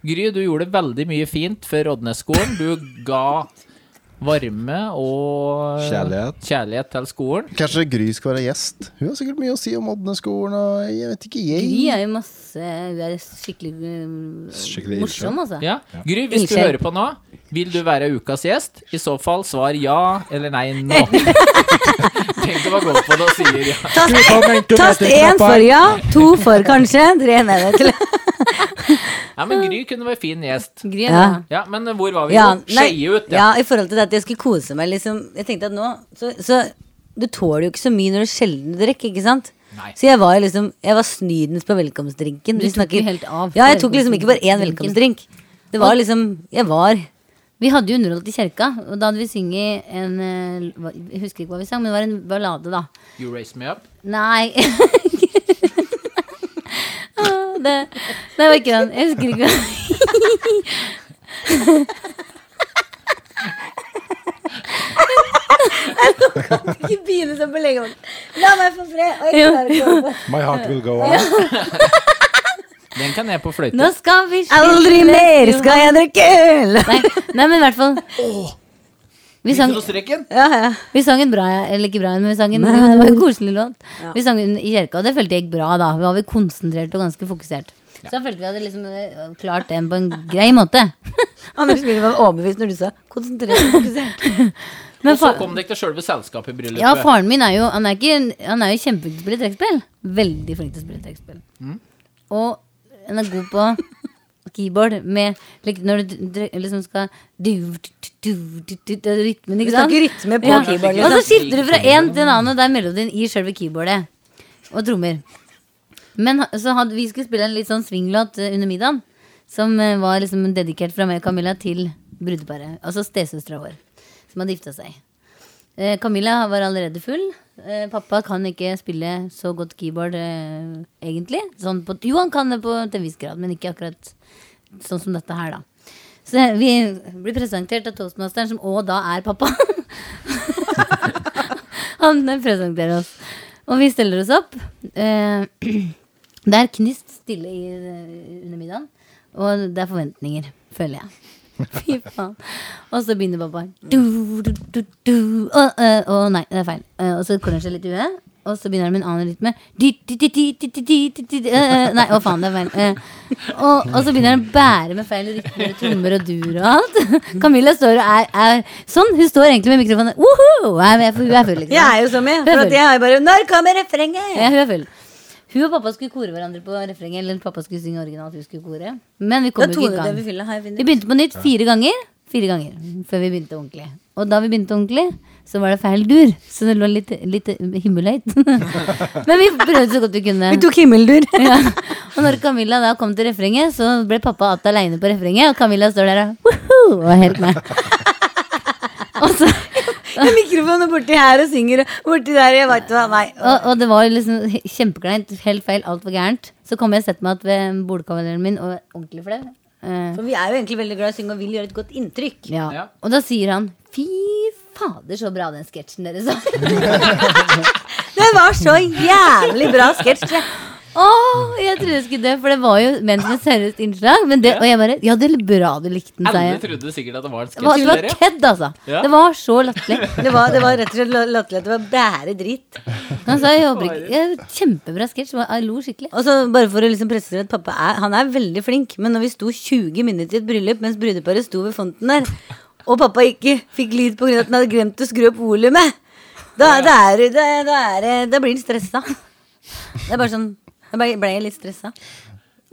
S3: Gry, du gjorde veldig mye fint for Oddnes-skolen. Du ga varme og
S7: Kjærlighet.
S3: kjærlighet til skolen.
S1: Kanskje Gry skal være gjest? Hun har sikkert mye å si om Odnes-skolen og jeg vet ikke, jeg.
S6: Gry er jo masse Hun er skikkelig
S4: eh,
S6: øh,
S7: Skikkelig ildsjel.
S6: morsom, altså.
S3: Ja. Gry, hvis du
S6: Ildsjel.
S3: hører på nå, vil du være ukas gjest? I så fall svar ja eller nei nå. Tenk å være god på det og sier ja.
S4: Tast én for ja, to for kanskje, tre nei nei, til.
S3: Nei, men Gry kunne være fin gjest.
S6: Gry er
S4: Ja.
S6: bra.
S3: Ja, men hvor var vi?
S4: Ja,
S3: nå? Skeie ut, ja.
S4: ja. i forhold til det at jeg skulle kose meg, liksom. Jeg tenkte at nå Så, så du tåler jo ikke så mye når du sjelden drikker, ikke sant?
S3: Nei.
S4: Så jeg var jo liksom Jeg var snydens på velkomstdrinken.
S6: Du
S4: Vi
S6: tok
S4: snakker-
S6: jo helt av
S4: Ja, jeg
S6: på
S4: tok liksom ikke bare én
S6: velkomstdrinken.
S4: velkomstdrink. Det var liksom Jeg var
S6: Vi hadde jo underholdt i kirka, og da hadde vi sunget en øh, hva- Jeg husker ikke hva vi sang, men det var en ballade, da.
S3: You raise me up.
S6: Nei. Ah, det, det var ikke den. Jeg husker ikke.
S4: Ikke begynne
S6: sånn
S4: som på legevakt. La meg få fred!
S6: klarer
S7: My heart will go on.
S3: Den kan jeg på fløyte.
S6: Nå skal vi
S4: Aldri
S6: spille
S4: mer
S6: Johan-
S4: skal jeg drikke øl!
S6: Nei, nei, men i hvert fall vi sang,
S3: Mikrostreken?
S4: Ja, ja.
S6: vi sang en bra Eller ikke bra, en, men vi sang en jo, Det var en koselig låt. Vi sang den i kirka, og det følte jeg gikk bra da. Vi var vi konsentrert og ganske fokusert. Så da følte vi hadde liksom eh, klart den på en grei måte.
S4: Anders ville være overbevist når du sa 'konsentrert og fokusert'.
S6: Men
S3: Og så
S6: fa-
S3: kom det ikke selve selskapet i bryllupet.
S6: Ja, faren min er jo Han er, ikke, en- han er jo kjempeflink til å spille trekkspill. Veldig flink til å spille trekkspill.
S4: Mm.
S6: Og han er god på keyboard med like, Når du dre- liksom skal du, du, du, du, du, Rytmen, ikke
S4: Du snakker
S6: sant?
S4: rytme på
S6: Ja.
S4: keyboard.
S6: Og så
S4: Liksom.
S6: skifter du fra en til en annen, og det er melodien i selve keyboardet. Og trommer. Men ha- så hadde, vi skulle spille en litt sånn swinglåt eh, under middagen. Som eh, var liksom dedikert fra meg og Camilla til brudeparet. Altså stesøstera vår. Som hadde gifta seg. Eh, Camilla var allerede full. Eh, pappa kan ikke spille så godt keyboard, eh, egentlig. Sånn på, jo, han kan det på til en viss grad, men ikke akkurat sånn som dette her, da. Så vi blir presentert av toastmasteren, som òg da er pappa. han presenterer oss. Og vi stiller oss opp. Eh, det er knist stille i, eh, under middagen, og det er forventninger, føler jeg. Fy faen. Og så begynner pappa. Du, du, du, du. Å, eh, å, nei, det er feil. Eh, og så klør han seg litt i huet, og så begynner han med en annen rytme. Di, di, di, di, di, di, di, di, di, di. Eh, eh, Nei, å faen, det er feil. Eh, og, og så begynner han å bære med feil rytmer og trommer og dur og alt. Camilla står og er, er sånn. Hun står egentlig med mikrofonen. Woho! Hun er med, for hun er full, liksom.
S4: Jeg er jo så med. For at jeg er bare 'Når kommer refrenget?'
S6: Ja, hun er full. Hun og pappa skulle kore hverandre på refrenget. Eller pappa skulle synge originalt, hun skulle kore. Men vi
S4: Det er
S6: kom jo ikke i
S4: 200
S6: gang.
S4: vi fyller her.
S6: Vi
S4: Vinner.
S6: begynte på nytt fire ganger. Fire ganger før vi begynte ordentlig. Og da vi begynte ordentlig, så var det feil dur. Så det lå litt, litt himmelhøyt. Men vi prøvde så godt vi kunne.
S4: Vi tok himmeldur.
S6: Ja. Og når Camilla da kom til refrenget, så ble pappa att aleine på refrenget. Og Camilla står der og «Woohoo!» og er helt med. Og så
S4: Med mikrofonen borti her og synger og borti der. Jeg vet hva, nei.
S6: og, og det var liksom he- kjempekleint. Helt feil. Alt var gærent. Så kom jeg og setter meg at ved bordkavaleren min og er ordentlig flau. Eh,
S4: For vi er jo egentlig veldig glad i å synge og vil gjøre et godt inntrykk.
S6: ja.
S3: Ja.
S6: Og da sier han fy fader, så bra den sketsjen deres var.
S4: Det var så jævlig bra sketsj. jeg.
S6: Åh, jeg trodde jeg skulle dø, for det var jo ment som et seriøst innslag. Men det, og jeg bare Ja, det er bra du likte den, sa
S3: Alle
S6: jeg.
S3: trodde sikkert at det var en
S6: Det var,
S3: sketsj.
S6: det var
S3: dere.
S6: kødd, altså.
S3: Ja.
S6: Det var så latterlig.
S4: Det var, det var rett og slett la- latterlig. Det var bære dritt.
S6: Han sa jeg håper ikke ja, Kjempebra sketsj. Jeg lo skikkelig.
S4: Og så bare for å liksom presisere at pappa er, han er veldig flink, men når vi sto 20 minutter i et bryllup mens brudeparet sto ved fonten der, og pappa ikke fikk lyd pga. at han hadde glemt å skru opp volumet, da, da, er, det- da, er- da, er, det- da blir han stressa. Det er bare sånn Da ble ble jeg litt stressa.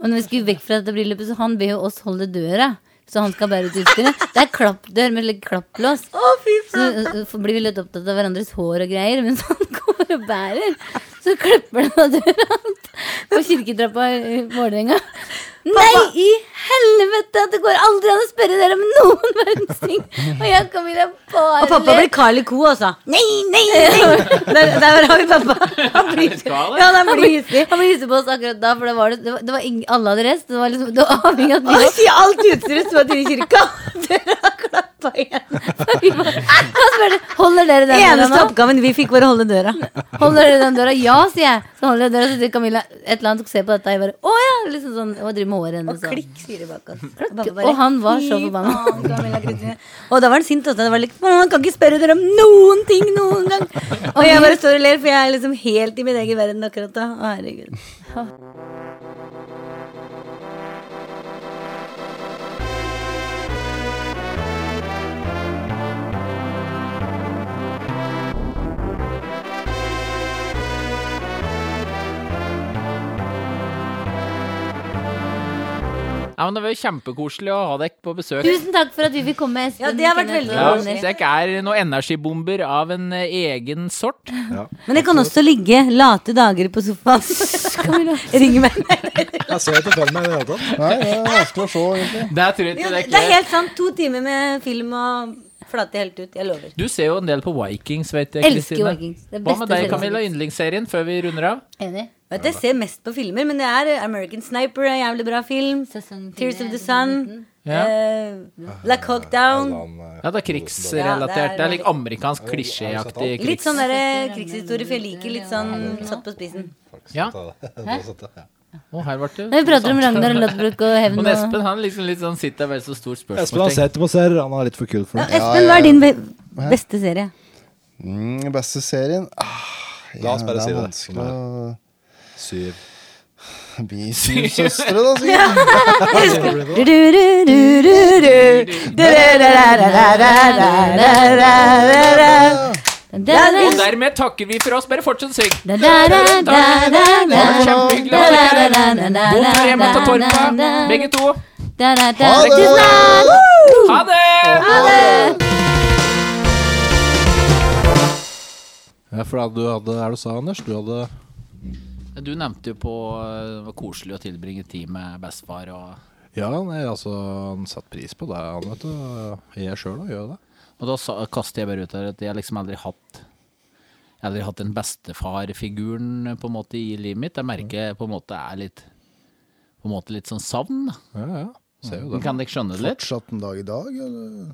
S6: Og når vi skulle vekk fra dette bryllupet, så han ber jo oss holde døra. Så han skal bære ut utstyret. Det er klappdør med litt klapplås.
S4: Å, fy
S6: Så ø, ø, blir vi litt opptatt av hverandres hår og greier mens han går og bærer. Så klipper han av døra hans på kirketrappa i Vålerenga. Nei, i helvete! at Det går aldri an å spørre dere om noen verdens ting! Og jeg og Camilla bare
S4: Og pappa blir Carl i ko, altså. Nei, nei, nei! Der, der har vi pappa. Han blir, ja, han
S6: han
S4: blir
S6: blir
S4: hissig.
S6: han blir hissig på oss akkurat da, for det var det, det var, det var ingen, alle hadde reist. Det var liksom, det var avhengig av at vi
S4: Han sier alt utstyret som er til kirka. Døra klappa igjen.
S6: Vi bare- Han spør holder dere den
S4: Eneste
S6: døra nå?
S4: oppgaven vi fikk, var å holde døra.
S6: Holder dere den døra? Ja, sier jeg. Så holder jeg døra, så sier Camilla et eller annet og ser på dette. og Jeg bare, å ja, liksom sånn, og driver med håret hennes. og-
S4: Klikk, sier det bak oss. Og, pappa
S6: Og han var så
S4: "Fy
S6: forbanna."
S4: faen, Camilla Kristine. Og da var han sint også. Det var like, "Faen, han kan ikke spørre dere om noen ting noen gang. Og jeg bare står og ler, for jeg er liksom helt i min egen verden akkurat da. Å, herregud.
S3: Ja, men Det var jo kjempekoselig å ha dere på besøk.
S6: Tusen takk for at vi fikk komme, Espen.
S4: Ja, det har vært
S6: Kenneth og
S3: Ja,
S4: veldig
S6: Anders.
S3: Dere er noen energibomber av en eh, egen sort.
S4: Men det kan også ligge late dager på sofaen. Ring meg.
S7: Jeg ser ikke for meg i det hele tatt.
S1: Nei, det er vanskelig å se, egentlig.
S3: Det tror jeg
S4: Jo,
S3: ikke
S4: det
S3: dere-
S4: det er helt sant. To timer med film og flate helt ut. Jeg lover.
S3: Du ser jo en del på Vikings, vet jeg,
S6: Elsker
S3: Kristine.
S6: Vikings. Det er
S3: Hva
S6: beste
S3: med deg,
S6: serien.
S3: Camilla? Yndlingsserien før vi runder av?
S6: Enig.
S4: Vet du, Jeg ser mest på filmer, men det er eh, American Sniper er en jævlig bra film.
S6: Sesong fire,
S4: Tears of the Sun.
S3: Ja.
S4: eh, Black Hawk Down.
S7: eh,
S3: Ja, det er krigsrelatert.
S4: Ja, det er-
S3: det er litt amerikansk klisjéaktig krigs...
S4: eh, Litt sånn der krigshistorie, for jeg liker litt sånn satt på spissen.
S3: Ja.
S7: Hæ?
S3: Og her ble det
S6: Når vi prater om Ragnar Lodbrok og hevn
S3: Og
S6: og
S3: Espen han liksom litt sånn sitter med et så stort
S7: Espen han
S3: spørsmål.
S7: setter på serr. Han er litt for kul for
S6: ja,
S7: det.
S6: Espen, hva er din be beste serie?
S1: Mm, beste serien ah,
S7: La oss bare
S1: det er
S7: si det.
S1: vanskelig å-
S7: Syv.
S1: Vi syv søstre, da, sikkert.
S6: Du, du, du, du, du, du. Du, du, du, du, du, du, du, du, du, du, du, du.
S3: Og dermed takker vi for oss. Bare fortsett å synge.
S6: Da, da, da, da, da, da.
S3: Kjempehyggelig
S6: Da,
S3: å
S6: da,
S3: ha
S6: da,
S3: dere
S6: da,
S3: her.
S6: da, da,
S3: God tur hjemme til
S6: da, da,
S3: Torpa,
S6: da.
S3: begge to.
S6: Da, da, da.
S1: Ha det!
S6: Tusen takk!
S3: Ha det!
S2: Ja, for da du hadde, er det du sa, Anders? Du hadde
S3: Du nevnte jo på eh, det var koselig å tilbringe tid med bestefar. Og,
S2: Ja, nei, altså, han satte pris på det, han, vet du. Jeg sjøl òg gjør det.
S3: og da sa, kaster jeg bare ut der at jeg liksom aldri hatt jeg har aldri hatt den bestefarfiguren på en måte i livet mitt. Jeg merker jeg på en måte er litt på en måte litt sånn savn. da.
S2: Ja, ja. Ser jo det.
S3: Kan dere skjønne det litt?
S1: Fortsatt en dag i dag, eller?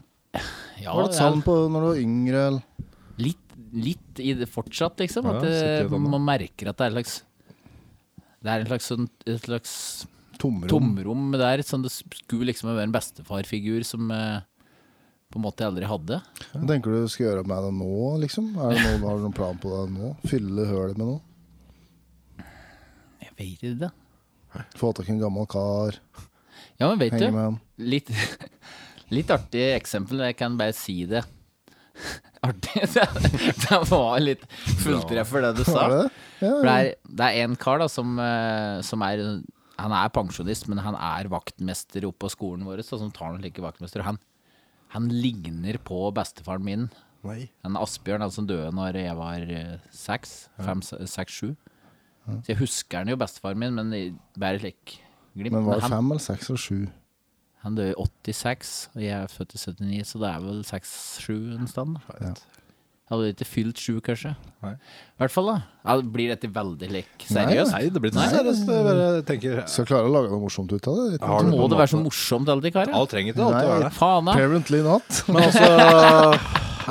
S3: Ja,
S1: Var det et savn på når du var yngre, eller?
S3: litt, litt i det fortsatt, liksom.
S2: Ja,
S3: At
S2: sitter
S3: det,
S2: litt an, da.
S3: man merker at det er en slags Det er en slags, sånn- et slags
S1: Tomrom.
S3: tomrom der. Sånn det skulle liksom være en bestefarfigur som eh, på en måte jeg aldri hadde.
S1: Hva tenker du du skal gjøre med det nå, liksom? Er det noen, har du noen plan på det nå? Fylle hølet med noe?
S3: Jeg vet ikke det.
S1: Få tak i en gammel kar?
S3: Ja, men vet
S1: Henge
S3: du,
S1: med han?
S3: litt, litt artig eksempel, jeg kan bare si det. Artig? Det, det var litt fulltreffer, det du sa.
S1: Er det det? Ja,
S3: For det er, det er en kar da som, eh, som er Han er pensjonist, men han er vaktmester oppe på skolen vår, så som tar noen slike vaktmester. Og han, han ligner på bestefaren min.
S7: Nei.
S3: Han Asbjørn, han som døde når jeg var eh, seks, fem, se- seks, sju. Så jeg husker han jo, bestefaren min, men i- bare slik glimt.
S1: Men
S3: Men
S1: var det
S3: han,
S1: fem eller seks eller sju?
S3: han døde i 86, og jeg er født i 79, så det er vel 6-7 en stand. da.
S1: Ja.
S3: Han hadde ikke fylt sju, kanskje.
S7: Nei.
S3: I hvert fall, da. Ja, det blir dette veldig lik seriøst?
S7: Nei, det blir ikke seriøst. Jeg bare tenker
S1: Skal klare å lage noe morsomt ut av det?
S7: Har
S3: Så
S7: du
S3: må
S7: på en
S3: det være så
S7: måte-
S3: morsomt, alle de karene.
S7: Alt trenger ikke alltid å være det.
S3: Faen, da.
S1: Apparently not.
S2: Men altså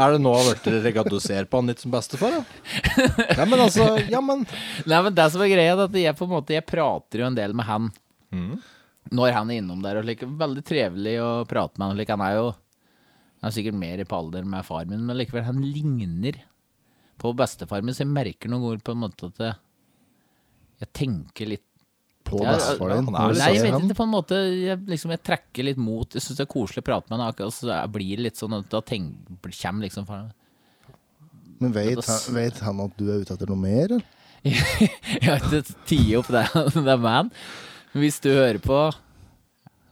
S2: Er det nå blitt regadusert på han litt som bestefar, da? Ja, men altså Ja, men
S3: Nei, men det som er greia, er at jeg på en måte Jeg prater jo en del med han når han er innom der. Og like, veldig trevelig å prate med han. og Like, han er jo Han er sikkert mer på alder med far min, men likevel, han ligner på bestefar min, så jeg merker noen ganger på en måte at jeg, jeg tenker litt
S1: På
S3: Ja,
S1: bestefaren din.
S7: han er
S1: når du
S3: Nei, jeg
S1: ser
S3: vet
S1: han.
S3: ikke, på en måte Jeg, liksom, jeg trekker litt mot Jeg synes det er koselig å prate med han akkurat, så jeg blir litt sånn at da tenk, kommer liksom faren
S1: Men vet,
S3: Det var-
S1: han- vet han at du er ute etter noe mer? Eller?
S3: Jeg har ikke tid opp det, det er man. Hvis du hører på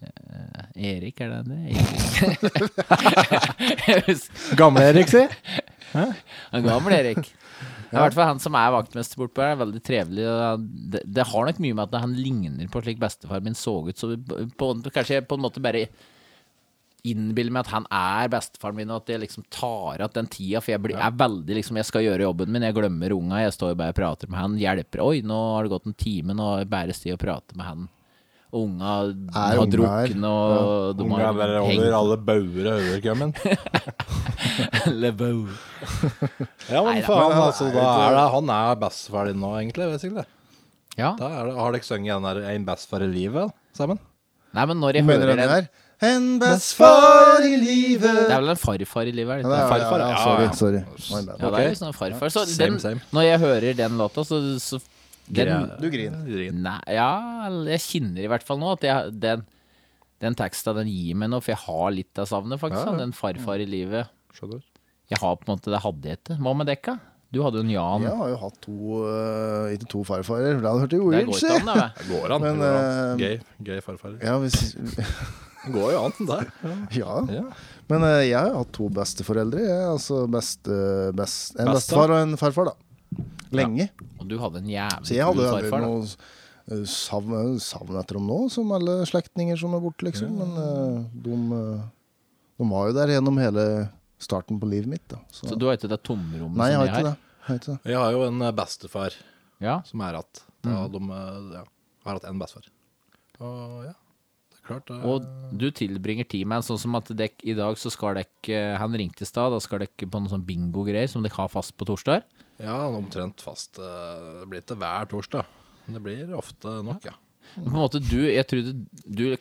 S3: eh, Erik, er det det? Erik. Jeg husker-
S2: Gamle-Erik, si.
S3: Han gammel Erik. Det er I hvert fall han som er vaktmester bortpå her, er veldig trevelig. og han- Det, det har nok mye med at han ligner på slik bestefar min så ut, så vi- på, kanskje jeg på en måte bare innbiller meg at han er bestefaren min, og at jeg liksom tar igjen den tida. For jeg blir, er veldig liksom Jeg skal gjøre jobben min, jeg glemmer unga, jeg står bare og prater med han. Hjelper Oi, nå har det gått en time, nå er det bare sted å prate med han. Og unga har
S1: unga her?
S3: drukne, og de
S2: Unge er
S3: har
S2: bare over
S3: hengt
S2: alle bauger og øverkømmen.
S3: alle bau.
S2: Ja, men faen, altså. Da er det han er bestefar din nå, egentlig. Basically.
S3: Ja.
S2: Da er det, har dere sunget den der 'En bestefar i livet' sammen?
S3: Nei, men når jeg
S1: Mener du
S3: hører en
S1: den
S3: Det
S1: her? En bestefar i livet
S3: er vel en farfar i livet, er det
S1: Ja, det
S3: ikke?
S1: er-
S2: Farfar,
S1: ja,
S2: ja,
S1: Sorry.
S2: ja.
S1: sorry. My bad.
S3: Ja, det er jo sånn farfar. Så
S2: Same,
S3: den,
S2: same.
S3: når jeg hører den låta, så, så den,
S2: Greier-
S1: Du griner.
S3: Nei, ja, eller jeg kjenner i hvert fall nå at jeg, den, den teksta den gir meg noe, for jeg har litt av savnet, faktisk. sånn, Den farfar i livet.
S2: Skjønner.
S3: Jeg har på en måte, det hadde jeg ikke. Hva med dekka? Du hadde jo en Jan.
S1: Jeg har jo hatt to eh, Ikke to farfarer, for det hadde hørt jo
S3: det
S1: weird,
S3: går
S1: si.
S3: ikke an, det. vet du.
S2: Går an.
S1: Men,
S2: går an.
S1: eh,
S2: Gøy, gøy farfar.
S1: Ja, hvis,
S2: Går jo an, der.
S1: ja.
S2: Ja.
S1: Men eh, jeg har jo hatt to besteforeldre. Jeg, altså beste, best, en
S2: Besta?
S1: bestefar og en farfar, da. Lenge.
S3: Og du hadde en jævlig
S1: Så jeg hadde
S3: kul
S1: jo aldri
S3: farfar. da.
S1: noe eh, savn, savn etter dem nå, som alle slektninger som er borte, liksom. Men eh, de, eh, de var jo der gjennom hele starten på livet mitt. Da. Så,
S3: Så du har ikke det tomrommet
S1: nei, jeg
S3: som
S1: har ikke det. Jeg har ikke det.
S2: Jeg har jo en eh, bestefar
S3: Ja.
S2: som er igjen. Da de eh, ja, har hatt en bestefar. Og ja, det er klart. eh,
S3: Og du tilbringer tid med en sånn som at dekk, i dag så skal dekk Han ringte i stad, da skal dekk på noen sånn bingo-greier som dere har fast på torsdag.
S2: Ja, han er omtrent fast. eh, Det blir til hver torsdag. Men det blir ofte nok, ja.
S3: På en måte, du, jeg tror du, du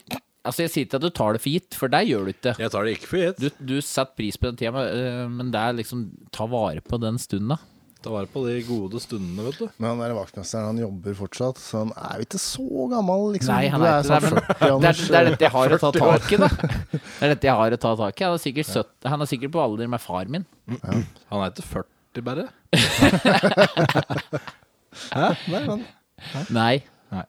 S3: Altså, jeg sier ikke at du tar det for gitt, for deg gjør du ikke.
S2: Jeg tar det ikke for gitt.
S3: Du, du setter pris på den tida, men, øh, men det er liksom Ta vare på den stunden, da.
S2: Ta vare på de gode stundene, vet du.
S1: Men han der vaktmesteren han jobber fortsatt, så han er jo ikke så gammel, liksom.
S3: Nei,
S1: Du
S3: han er ikke
S1: snart
S3: det, men
S1: 40,
S3: Det er,
S1: Anders.
S3: det er dette jeg har å ta tak i, da. Det er dette jeg har å ta tak i. Han er sikkert, 70 han er sikkert på alder med far min.
S2: Han er ikke 40, bare.
S3: Nei.
S2: Nei.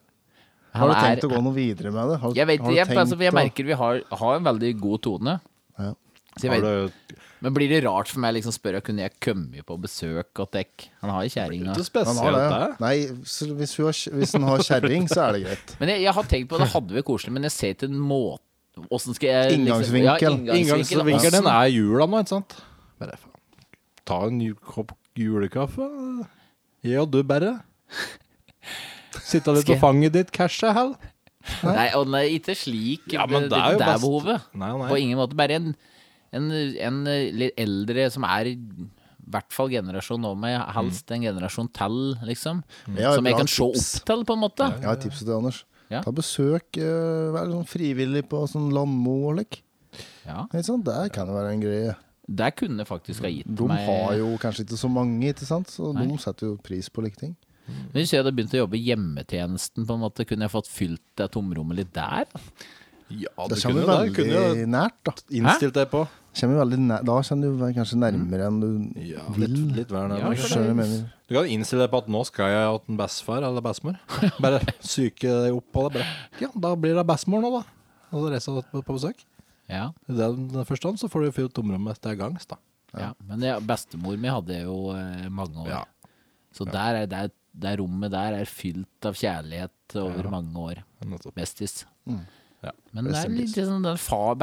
S1: Har
S3: Han
S1: du tenkt
S3: er
S1: å gå noe videre med det? Har,
S3: Jeg vet
S1: har du
S3: jeg, altså, jeg
S1: å-
S3: merker vi har, har en veldig god tone.
S1: Ja.
S3: Så jeg
S2: Har
S3: vet,
S2: du
S3: men blir det rart for meg å liksom spørre kunne jeg komme på besøk og tek? Han har jo kjerringa.
S2: ikke
S1: Han har
S2: spesielt
S1: det.
S2: det?
S1: Nei, så hvis, hun har, hvis han har kjerring, så er det greit.
S3: Men jeg, jeg har tenkt på det hadde vært koselig, men jeg ser ikke en måte Åssen skal jeg
S1: Inngangsvinkel.
S3: Ja, inngangsvinkel.
S2: Inngangsvinkelen
S3: Åssen-
S2: den er jula nå, ikke sant? Bare faen. Ta en ny kopp julekaffe. Jeg og du bare. Sitte litt på
S3: Skal jeg-
S2: fanget ditt, cashe hell.
S3: Nei, og den er ikke slik.
S2: Ja, men
S3: det,
S2: det
S3: det,
S2: er jo
S3: det er
S2: best-
S3: behovet.
S2: Nei, nei.
S3: På ingen måte. Bare en, en, en litt eldre som er i hvert fall generasjon over meg, helst en generasjon til, liksom.
S1: Jeg har Mm. et
S3: Som jeg
S1: bra
S3: kan se
S1: tips.
S3: opp til, på en måte.
S1: Jeg har et tips til deg, Anders.
S3: Ja.
S1: Ta besøk, eh, vær sånn frivillig på sånn landmo og lik.
S3: Ja,
S1: Ikke sant? Der kan det være en greie.
S3: Det kunne faktisk ha gitt
S1: De
S3: meg
S1: har jo kanskje ikke så mange, ikke sant? så de setter jo pris på like ting.
S3: Hvis jeg hadde begynt å jobbe i hjemmetjenesten, på en måte, kunne jeg fått fylt det tomrommet litt der?
S2: Ja, du
S1: Det
S2: kunne
S1: kommer
S2: jo det.
S1: veldig
S2: Du kunne jo
S1: nært, da.
S2: innstilt deg på.
S1: Kommer veldig nær, da kjenner du kanskje nærmere enn du
S2: Mm. Ja,
S1: vil.
S2: litt, litt vær
S3: Ja,
S2: nærmere.
S3: for
S1: Skjønner du hva jeg mener?
S2: Du kan innstille deg på at nå skal jeg ha en bestefar eller bestemor. Bare psyke deg opp på det. Bare. Ja, da blir det bestemor nå, da. Og så reiser jeg på besøk.
S3: Ja.
S2: I den forstand så får du fylt tomrommet til gangs, da.
S3: ja. Men jeg, bestemor mi hadde jeg jo eh, mange år.
S2: Ja.
S3: Så der er, der, der rommet der er fylt av kjærlighet over mange år.
S2: Nettopp.
S3: Bestis.
S2: Ja.
S3: Men det er litt sånn den fa-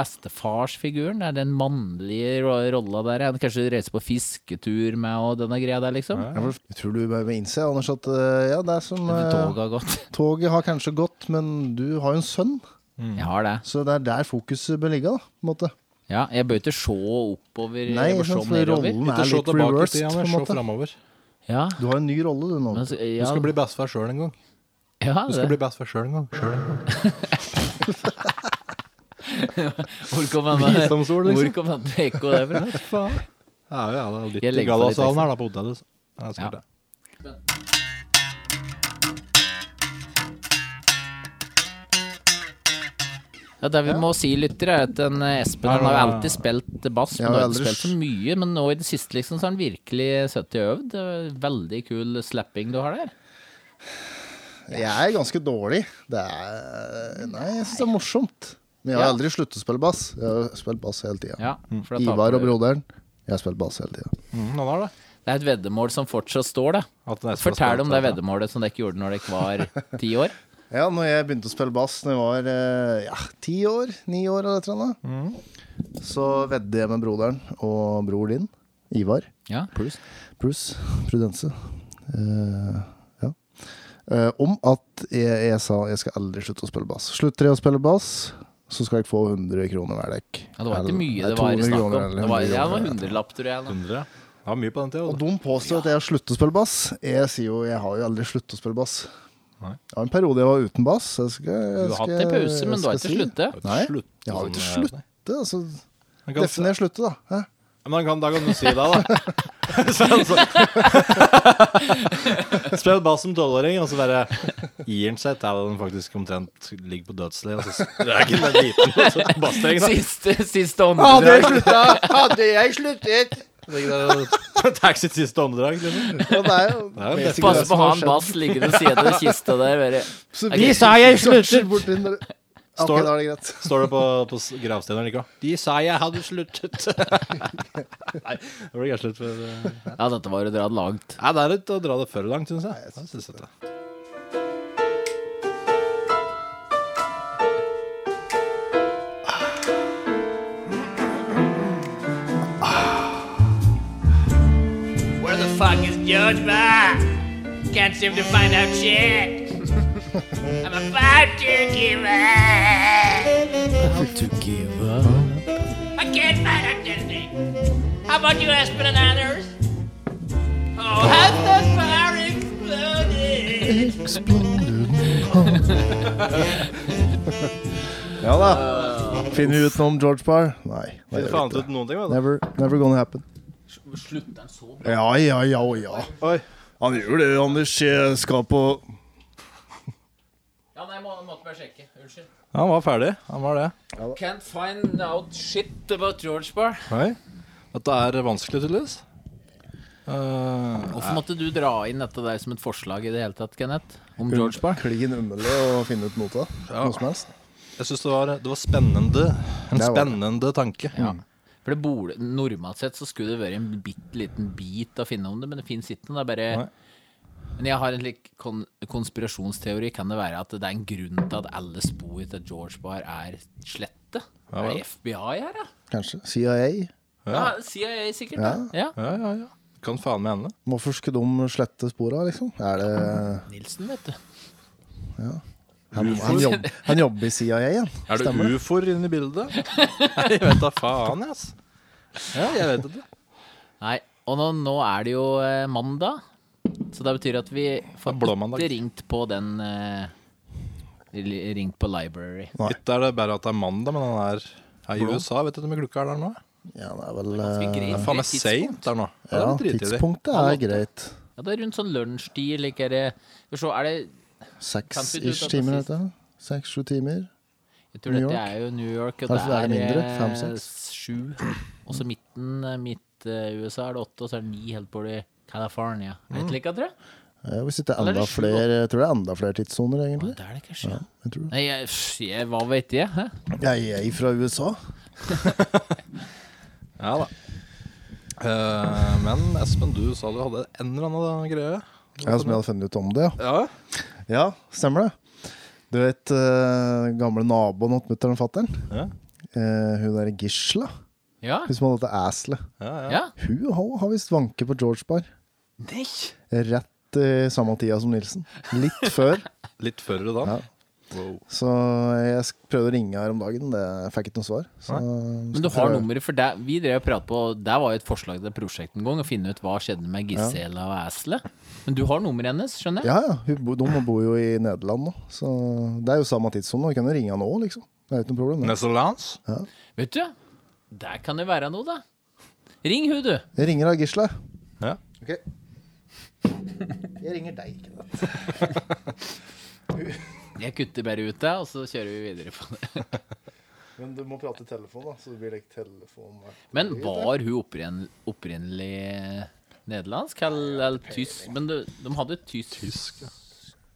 S3: bestefarsfiguren, det er den mannlige ro- rolla der. ja. Kanskje reise på fisketur med og denne greia der, liksom.
S1: Ja, for Jeg tror du bør innse, Anders, at eh, ja, det er som
S3: Men
S1: eh,
S3: Toget har gått.
S1: Toget har kanskje gått, men du har jo en sønn,
S3: Jeg har det.
S1: så det er der fokuset bør ligge, da. På en måte.
S3: Ja, jeg bør ikke se oppover.
S1: Nei,
S3: jeg bør
S1: ikke sant,
S3: se
S1: for
S3: nedover.
S1: rollen
S2: Ikke
S1: er
S2: se
S1: litt
S2: tilbake i
S1: reversed,
S2: tida,
S1: på
S2: men
S1: en
S2: se
S1: måte.
S2: framover.
S3: Ja,
S1: Du har en ny rolle, du nå.
S3: men, så-
S2: Du
S3: ja,
S2: skal bli bestefar sjøl en gang.
S3: ja,
S2: Du skal
S3: det.
S2: bli bestefar sjøl en gang. Selv en gang.
S3: Hvor kom han
S2: Visdomsord, liksom.
S3: Hvor kom han til ekko der fra?
S2: Ja, ja, det er
S3: Jeg
S2: litt i
S3: legger på litt
S2: gallasalen her, da, på hotellet. Ja,
S3: Ja.
S2: sikkert det.
S3: Ja, det vi må si, lyttere, er at den eh, Espen han har jo alltid spilt eh, bass.
S1: Ja,
S3: Men har
S1: ellers-
S3: ikke spilt så mye, men nå i det siste liksom, så har han virkelig sett i øvd. Det er Veldig kul slapping du har der.
S1: Jeg er ganske dårlig. Det er Nei, jeg syns det er morsomt. Men jeg har
S3: Ja.
S1: aldri sluttet å spille bass. Jeg har spilt bass hele tida.
S3: Ja, for da taper
S1: Mm. Ivar og
S3: du.
S1: broderen. Jeg har spilt bass hele tida.
S2: Mm, han har det.
S3: Det er et veddemål som fortsatt står, da.
S2: At den er så
S3: Fortell
S2: spesielt,
S3: om det
S2: da.
S3: veddemålet som dere ikke gjorde når dere var ti år.
S1: Ja, når jeg begynte å spille bass Når jeg var eh, ja, ti år, ni år eller et eller annet,
S3: Mm.
S1: så vedde jeg med broderen og bror din, Ivar.
S3: Ja, pluss.
S1: Bruce Prudense. Eh, ja. Eh, om at jeg, jeg sa jeg skal aldri slutte å spille bass. Slutter jeg å spille bass, så skal jeg få 100 kroner hver dekk.
S3: Ja, det var
S1: Eller-
S3: ikke mye
S1: nei,
S3: det var
S1: 200
S3: snakk om.
S1: kroner eller 100
S3: Det var, ja, det
S1: kroner.
S3: var hundrelapp, tror jeg. Da.
S2: 100. Det var mye på den altså. tida.
S1: Og
S2: da.
S1: de påstår at jeg har sluttet å spille bass. Jeg sier jo jeg har jo aldri sluttet å spille bass.
S2: Nei.
S1: Det var en periode jeg var uten bass. Jeg skal, jeg
S3: Du har hatt
S1: skal-
S3: en pause, men du har
S1: jeg skal
S3: ikke sluttet.
S2: Det var
S1: Nei,
S2: ikke slutt.
S1: jeg har jo ikke
S2: Sånn, nei.
S1: sluttet. Altså,
S2: Han kan-
S1: Definer slutte, da. Hæ?
S2: Men han kan, da kan du si det, da. Så han så- Spill bass som tolvåring, og så bare gir han seg til den faktisk omtrent ligger på dødsleiet. Altså, det er ikke den altså. liten og så bassstreng, da.
S3: Siste, siste åndedrag.
S1: Hadde jeg sluttet!
S2: Tax sitt siste åndedrag. liksom.
S1: Og det er jo
S2: er jo
S1: basically
S3: Pass
S1: det
S3: på
S1: som
S3: å ha
S1: har
S3: en
S1: skjedd.
S3: bass liggende side ved kista der. Bare.
S1: Så
S3: Vi sa
S1: jeg sluttet! Bort inn der. Ok,
S2: Står-
S1: da er det greit.
S2: Står det på, på s- gravsteinen likevel. De sa jeg hadde sluttet. Nei, det blir kanskje litt for eh,
S3: Ja, dette var å dra det langt.
S2: Nei, det er litt å dra det for langt, syns jeg. Ja, synes jeg det.
S8: Where the fuck is George Bob? Can't seem to find out shit. I'm about to give up. I can't find out Disney. How about you, Aspen and others? Oh, have the fire exploded?
S1: Exploded. Ja da. Finner vi ut noe om George Parr? Nei.
S9: Finner
S1: det gjør
S9: faen
S1: vi
S9: ikke
S1: ikke.
S9: ut noen ting, vel?
S1: Never, never gonna happen.
S3: Slutter han så bra?
S1: Ja, ja, ja, ja.
S9: Oi.
S1: Han gjør det, Anders. Jeg skal på
S3: Ja, nei, må, måtte bare sjekke. Unnskyld.
S2: Han var ferdig. Han var det.
S3: Can't find out shit about George Bar.
S2: Nei. Dette er vanskelig, tydeligvis. Eh,
S3: Hvorfor måtte du dra inn dette der som et forslag i det hele tatt, Kenneth? Om George Bar?
S9: Klin umulig å finne ut noe av. Noe som helst.
S2: jeg syns det, var- det var spennende. En
S1: Det var det.
S2: spennende tanke.
S3: Ja. For det borde, Normalt sett så skulle det vært en bitte liten bit å finne om det, men det fins ikke noe. Det er bare
S2: Nei.
S3: Men jeg har en slik kon konspirasjonsteori. Kan det være at det er en grunn til at alle spor til George Bar er slette?
S2: Ja,
S3: er
S2: vel.
S3: det FBI her, da?
S1: kanskje CIA.
S3: Ja, CIA sikkert. Ja.
S1: Ja.
S3: Ja.
S2: Ja, ja, ja. Kan faen meg hende.
S1: Hvorfor skulle de slette spora, liksom? Er det
S3: Nilsen, vet du.
S1: Han, han, jobb, han jobber i CIA igjen.
S2: Er det
S1: Stemmer
S2: ufoer inne i bildet? Nei, jeg vet da faen, jeg, ass. Ja, jeg vet det.
S3: Nei, og nå, nå er det jo eh, mandag, så det betyr at vi får
S2: Det er blå mandag.
S3: ikke ringt på den eh, li- Ringt på library.
S2: Ikke er det bare at det er mandag, men han er her i USA. Vet du hvor mye klokka er der nå?
S1: Ja, det er vel
S3: Ganske
S1: eh,
S3: greit.
S2: Det er faen meg
S3: Tidspunkt.
S2: seint der nå. Ja, det
S1: Ja,
S2: er litt dritig.
S1: tidspunktet er greit.
S3: Ja, det er rundt sånn lunsjtid, like er det For så er det Fant vi ut
S1: Seks-ish
S3: at det
S1: timer,
S3: sist-
S1: dette. Seks-sju timer.
S3: Jeg tror
S1: New
S3: dette
S1: York?
S3: er jo New York, og det
S1: Kanskje det er
S3: er,
S1: mindre,
S3: eh,
S1: fem, seks?
S3: sju. Og så midten, eh, midt eh, USA er det åtte, og så er det ni helt på det California. Er det ikke like, tror jeg?
S1: Ja, hvis ikke
S3: Eller er
S1: enda
S3: det sju,
S1: flere, jeg tror det er enda flere tidssoner, egentlig.
S3: Det er det kanskje. Ja.
S1: Jeg tror det.
S3: Nei, jeg, pff, jeg, hva vet jeg? Hæ?
S1: Jeg er fra USA.
S2: Ja da. Eh, men Espen, du sa du hadde en eller annen greie.
S1: Ja, Som jeg hadde funnet ut om det, ja.
S2: Ja,
S1: Ja, stemmer det. Du vet eh, gamle naboen til mutter'n og fatter'n?
S2: Ja.
S1: Eh, hun der Gisla,
S3: Ja?
S1: hun som hadde dette æselet.
S2: ja, ja.
S3: Ja?
S1: Hun har, har visst vanke på George Bar. Rett i samme tida som Nilsen. Litt før.
S2: Litt før da.
S1: Ja.
S2: Wow.
S1: Så jeg sk- prøvde å ringe her om dagen, det jeg fikk ikke noe svar. Så,
S3: Men du har nummeret, for der, vi drev og pratet på Der var jo et forslag til et prosjekt en gang, å finne ut hva skjedde med Gisela og Asle. Men du har nummeret hennes, skjønner jeg?
S1: Ja, ja. Hun, bo- de bor jo i Nederland nå, så det er jo samme tidssone. Vi kan jo ringe han nå, liksom. Det er ikke noe problem. Det.
S2: Netherlands?
S3: Vet du, der kan det være noe, da. Ring hun, du.
S1: Jeg ringer av Gisle.
S2: Ja.
S1: Ok. Jeg ringer deg, ikke sant.
S3: Jeg kutter bare ut det, og så kjører vi videre på det.
S1: Men du må prate i telefon, da, så det blir ikke telefon
S3: Men var hun oppren, opprinnelig nederlandsk eller, eller tysk? Men det, de hadde tysk.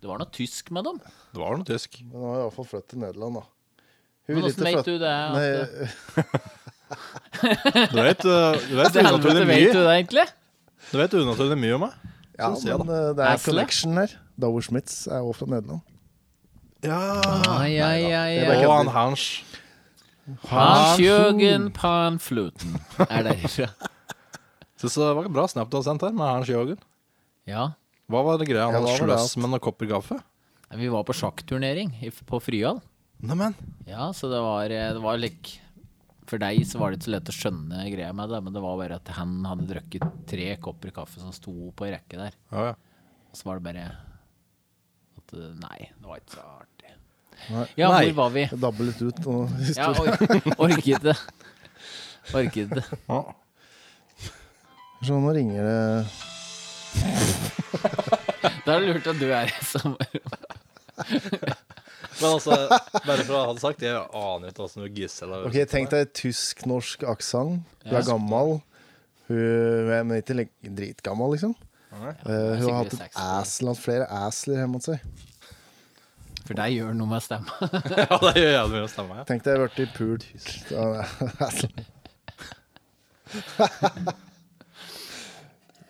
S3: Det var noe tysk med dem.
S2: Det var noe tysk.
S1: Men nå har jeg iallfall flyttet til Nederland, da. Hun
S3: Men
S1: vil
S3: åssen
S1: ikke
S3: vet
S1: flytte-
S3: du det? At,
S1: Nei,
S2: Du vet, uh, du vet
S3: til helvete
S2: unaturlig
S3: vet du
S2: mye.
S3: det, egentlig?
S2: Du vet unaturlig mye om meg.
S1: ja,
S2: Sånn ser jeg
S1: men eh, det er
S3: Asle?
S1: connection her. Dower Smiths er også fra Nederland.
S2: Ja.
S3: Ai, ai, ai,
S1: Ah, Det er
S3: ai.
S1: bare
S2: Og han Hans.
S3: Hans Jørgen Panfluten er derifra.
S2: Syns det var en bra snap du har sendt her med Hans Jørgen.
S3: Ja.
S2: Hva var det greia? Han
S1: Ja,
S2: hadde
S1: hva var det
S2: sløss med noen kopper kaffe?
S3: Nei, Vi var på sjakkturnering i- på Fryhall.
S2: Neimen.
S3: Ja, så det var, eh, det var lik For deg så var det ikke så lett å skjønne greia med det, men det var bare at han hadde drukket tre kopper kaffe som sto på ei rekke der.
S2: Ja, ja.
S3: Og så var det bare at eh, Nei, det var ikke så artig.
S1: Nei.
S3: Ja,
S2: Nei.
S3: hvor var vi?
S1: Jeg dabber litt ut. Og
S3: Ja, or orket det. Orket det.
S1: Så nå ringer det
S3: Da er det lurt at du er i samme rom.
S2: Men altså, bare for å ha det sagt, jeg aner ikke åssen Gisela
S1: Ok, tenk deg tysk-norsk aksent. Hun er gammel. Hun er men ikke like- dritgammel, liksom. Eh, hun har hatt et
S3: sikkert
S1: æsel, hatt flere æsler hjemme hos seg.
S3: For deg gjør noe med stemma.
S2: Ja, det gjør jævlig mye å stemme. Ja.
S1: Tenk deg å bli pult av æsel.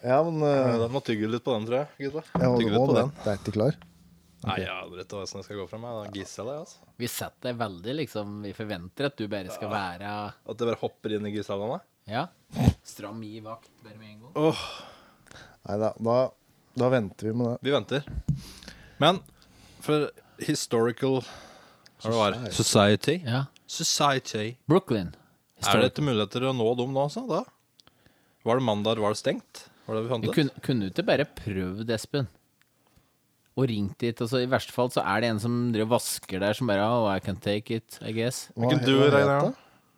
S1: Ja, men
S2: Ja,
S1: eh,
S2: Den må tygge litt på den, tror jeg. Gutta.
S1: jeg
S2: Tygge
S1: holder
S2: litt
S1: på
S2: på
S1: det.
S2: den.
S1: Det er ikke klar.
S2: Nei, jeg aner ikke åssen jeg skal gå fram. jeg. Det er Gisela, jeg, altså.
S3: Vi setter deg veldig, liksom. Vi forventer at du bare skal være
S2: At jeg bare hopper inn i Gisela nå?
S3: Ja. Stram i vakt bare med en gang.
S2: Åh,
S1: Nei da, da, da venter vi med det.
S2: vi venter. Men for historical Hva det var det? Society.
S3: Ja.
S2: Society.
S3: Brooklyn.
S2: Er det ikke muligheter å nå dem nå, altså? Da? Var det mandag, var det stengt? Var det vi fant
S3: Du
S2: ut?
S3: kunne, kunne du ikke bare prøvd, Espen?
S10: og ringt dit. Altså, I verste fall så er det en som driver og vasker der, som bare Oh, I can take it, I guess.
S1: Hva
S2: can
S1: he-
S2: do
S1: hva
S2: it right
S1: het
S2: now.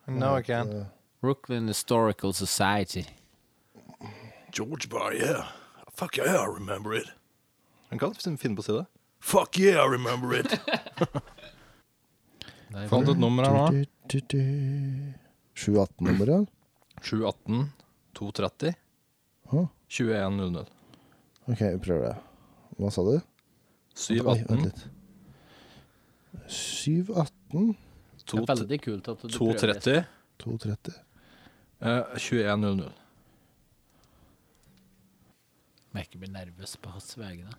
S1: det?
S2: No, I can't.
S10: Brooklyn Historical Society.
S2: George Bar, yeah. Fuck yeah, I remember it. Han kan liksom finne på å si det. Fuck yeah, I remember it. Fant et nummer her nå.
S1: 718-nummeret?
S2: 718 230
S1: Hå?
S2: 2100.
S1: Ok, vi prøver det. Hva sa du? Oi, vent
S2: 718
S1: litt. 718
S3: Det er veldig kult at du prøver det.
S2: 230
S1: 230
S2: eh, 2100.
S3: Merker jeg blir nervøs på hans vegne.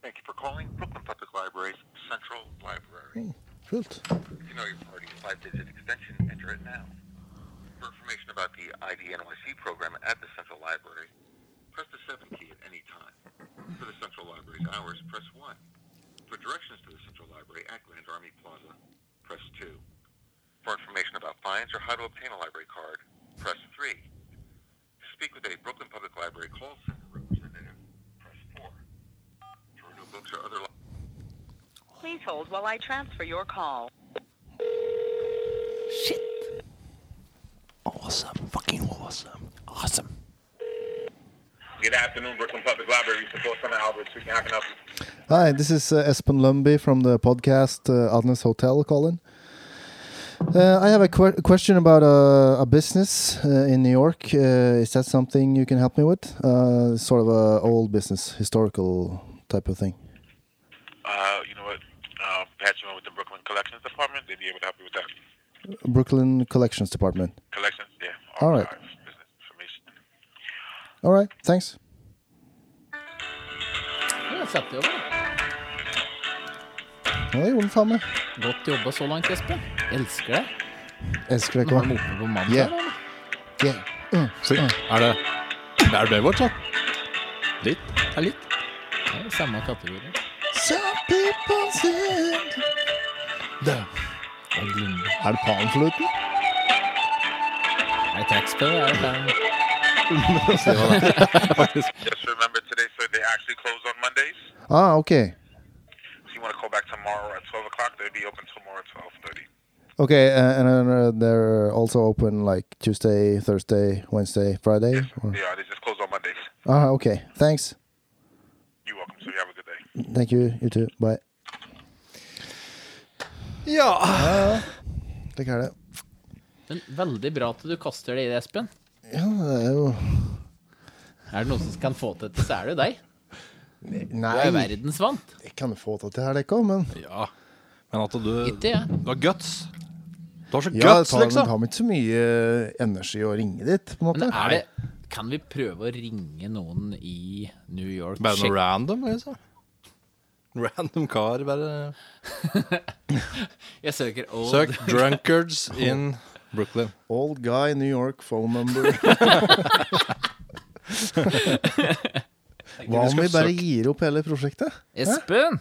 S11: Thank you for calling Brooklyn Public Library's Central Library.
S1: Kult.
S11: If you know your party's five-digit extension, enter it now. For information about the ID NYC program at the Central Library, press the 7 key at any time. For the Central Library's hours, press 1. For directions to the Central Library at Grand Army Plaza, press 2. For information about fines or how to obtain a library card, press 3. To speak with a Brooklyn Public Library call center representative, press 4. For new books or other
S12: Please hold while I transfer your call.
S11: Good afternoon, Brooklyn Public Library. Support from Albert speaking. How can I help you?
S1: Hi, this is uh, Espen Lumby from the podcast uh, Adnes Hotel calling. Uh, I have a que- question about uh, a business uh, in New York. Uh, is that something you can help me with? Uh, sort of a old business, historical type of thing.
S11: Uh, you know what? Uh, patch you on with the Brooklyn Collections Department. They'd be able to help you with that.
S1: Brooklyn Collections Department.
S11: Collections, yeah.
S1: All right.
S11: archives, Business information.
S1: All right, thanks.
S3: Ja, jeg setter jo over.
S1: Ja, det gjorde den faen meg.
S3: Godt jobba så langt, Espen. Elsker det.
S1: Elsker deg
S3: Nå har
S1: ikke
S3: de
S1: meg.
S3: oppe på mandag.
S1: Yeah.
S3: eller?
S1: Yeah.
S2: Fy, Er det Er det Baywatch, da? Litt?
S3: Ja, litt. Det er samme kategori.
S1: Some people said- Er det panfluten?
S3: Er det taxpay? Er det fan?
S11: Just remember today, sir, they actually close on Mondays.
S1: Ah, okay.
S11: So you want to call back tomorrow at 12 o'clock? They'll be open tomorrow at 12.30.
S1: Okay, uh, and then, uh, they're also open like Tuesday, Thursday, Wednesday, Friday. Or?
S11: Yeah, they just close on Mondays.
S1: Ah, okay. Thanks.
S11: You're welcome, sir. You have a good day.
S1: Thank you. You too. Bye.
S2: Ja.
S1: Slik er det.
S3: Men veldig bra at du kaster det i det, Espen.
S1: Ja, det er jo
S3: Er det noen som kan få til dette, så er det jo deg. Du er jo
S1: Nei,
S3: verdensvant.
S1: jeg kan få til det her, det ikke, men
S2: ja. Men at du
S3: Ikke jeg.
S2: Du har guts. Du har så
S1: Ja,
S2: guts,
S1: det tar, det
S2: liksom.
S1: tar meg ikke så mye energi å ringe dit, på en måte.
S3: Men er det Kan vi prøve å ringe noen i New York?
S2: Bare noe
S3: Sjekk-
S2: random, liksom. Random kar, bare
S3: Jeg søker old.
S2: Søk 'drunkards in Brooklyn'.
S1: Old guy New York phone number. Hva om vi bare gir opp hele prosjektet?
S3: Espen!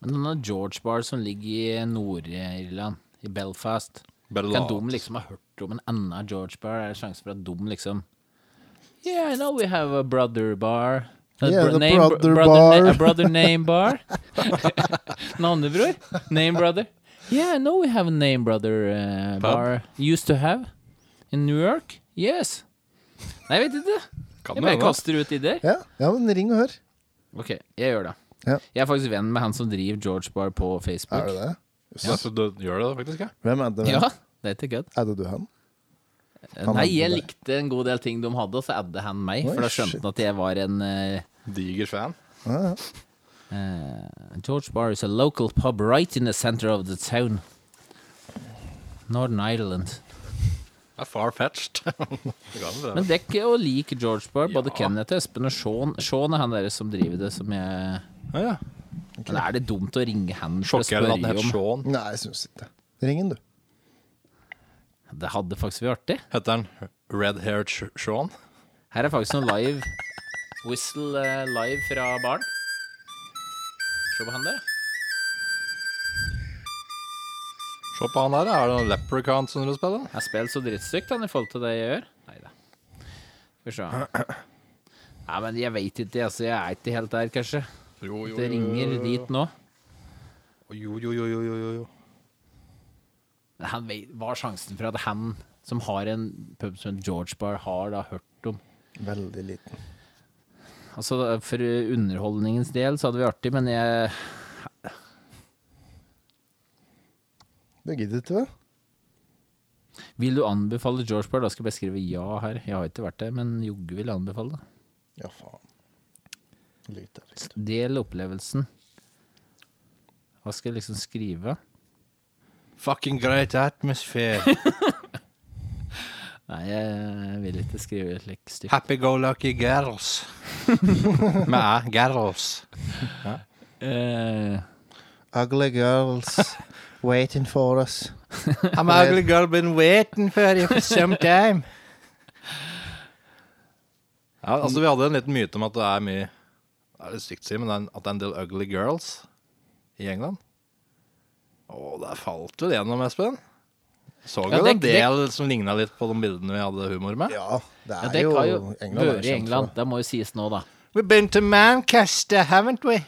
S3: Men denne George Bar som ligger i Nord-Irland, i Belfast
S2: Bare
S3: Kan
S2: lat.
S3: de liksom ha hørt om en annen George Bar? Er det sjanse for at de liksom Yeah, I know we have a brother bar. A
S1: Yeah,
S3: bro-
S1: the
S3: name-
S1: brother
S3: na-
S1: bar.
S3: a brother name bar. Navnebror? Name brother? Yeah, I know we have a name brother uh, bar. Used to have. In New York? Yes. Nei, jeg vet ikke.
S2: Kan det
S3: Jeg bare
S2: hende.
S3: kaster ut ideer.
S1: Ja, ja men ring og hør.
S3: Ok, jeg gjør det.
S1: Ja.
S3: Jeg er faktisk venn med han som driver George Bar på
S1: Er
S3: Facebook.
S1: det det?
S2: Ja, så du gjør det, faktisk? Ja.
S1: Hvem er det?
S3: Ja, det er ikke kødd.
S1: Er det du han?
S3: Nei,
S1: hadde
S3: jeg
S1: det.
S3: likte en god del ting de hadde, og så adde han meg.
S1: Oi,
S3: For da skjønte han at jeg var en eh,
S2: Diger fan.
S3: eh, George Bar is a local pub right in the center of the town. Northern Ireland.
S2: Det er far-fetched. Det kan være.
S3: Men det er ikke å like George Bar. Både Kenneth, Espen og Sean. Sean er han der som driver det, som jeg
S2: Ja, ja.
S3: Men er det dumt å ringe han for å
S2: Sjokkerende at den het
S3: spørre om
S2: Sean.
S1: Nei, jeg syns ikke det. Ring han, du.
S3: Det hadde faktisk vært artig.
S2: Heter han Red-haired Sh- Sean?
S3: Her er faktisk noen live whistle eh, live fra baren. Se på han der.
S2: Se på han der, er det noen leprechaun som du spiller?
S3: Jeg spiller så drittstygt han i forhold til det jeg gjør. Neida. Skal vi se. Nei, men jeg veit ikke, altså. Jeg er ikke helt der, kanskje.
S2: Jo, jo,
S3: det
S2: jo, jo,
S3: ringer
S2: jo, jo.
S3: dit nå.
S2: Jo, jo, jo, jo, jo, jo, jo.
S3: Men han vet, hva er sjansen for at han som har en pub som George Bar, har da hørt om
S1: Veldig liten.
S3: Altså, For underholdningens del så hadde vi artig, men jeg
S1: Det gidder ikke, vel?
S3: Vil du anbefale George Bar? Da skal jeg bare skrive ja her. Jeg har ikke vært der, men jogge vil anbefale.
S1: Ja, faen. Lite.
S3: Del opplevelsen. Hva skal jeg liksom skrive?
S2: Fucking great atmosphere.
S3: Nei, jeg vil ikke skrive et slikt stykke.
S2: Happy go lucky girls. Med æ, girls.
S3: Eh,
S1: Ugly girls waiting for us.
S2: I'm a ugly girl been waiting for you for some time. Ja, altså Vi hadde en liten myte om at det er mye Det er litt stygt å si, men det er en, at det er en del ugly girls i England. Å, der falt vel gjennom, Espen. Så
S3: Ja,
S2: vel en
S3: det- det-
S2: del som ligna litt på de bildene vi hadde humor med.
S1: Ja, det
S3: ja,
S1: er
S3: det
S1: jo
S3: kan jo
S1: England er
S3: være i
S1: kjent
S3: England.
S1: for-
S3: Det må jo sies nå, da.
S2: We've been to Manchester, haven't we?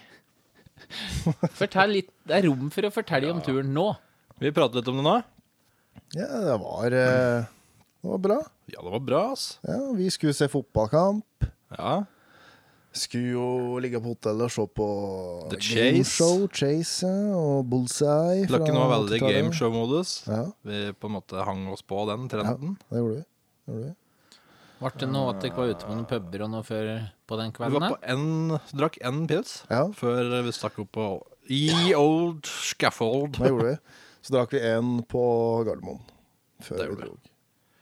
S3: Fortell litt, Det er rom for å fortelle om turen nå.
S2: Vi pratet litt om det nå.
S1: Ja, det var, eh, det var bra.
S2: Ja, det var bra, ass.
S1: Ja, vi skulle se fotballkamp.
S2: Ja.
S1: Skulle jo ligge på hotellet og se på
S2: The
S1: game
S2: Chase.
S1: Show, Chase og Bullseye. fra
S2: Løkken var veldig
S1: 80-tallet.
S2: gameshow-modus.
S1: Ja,
S2: Vi på en måte hang oss på den trenden.
S1: det gjorde vi. Det gjorde vi.
S3: Ble det noe at dere var ute på noen puber og noe før på den
S2: Vi
S3: kvelden?
S2: var
S3: her?
S2: på en, drakk én pils
S1: Ja,
S2: før vi stakk opp på E Old Scaffold.
S1: det gjorde vi. Så drakk vi en på Gardermoen
S2: Det
S1: før vi
S2: gjorde vi.
S1: dro.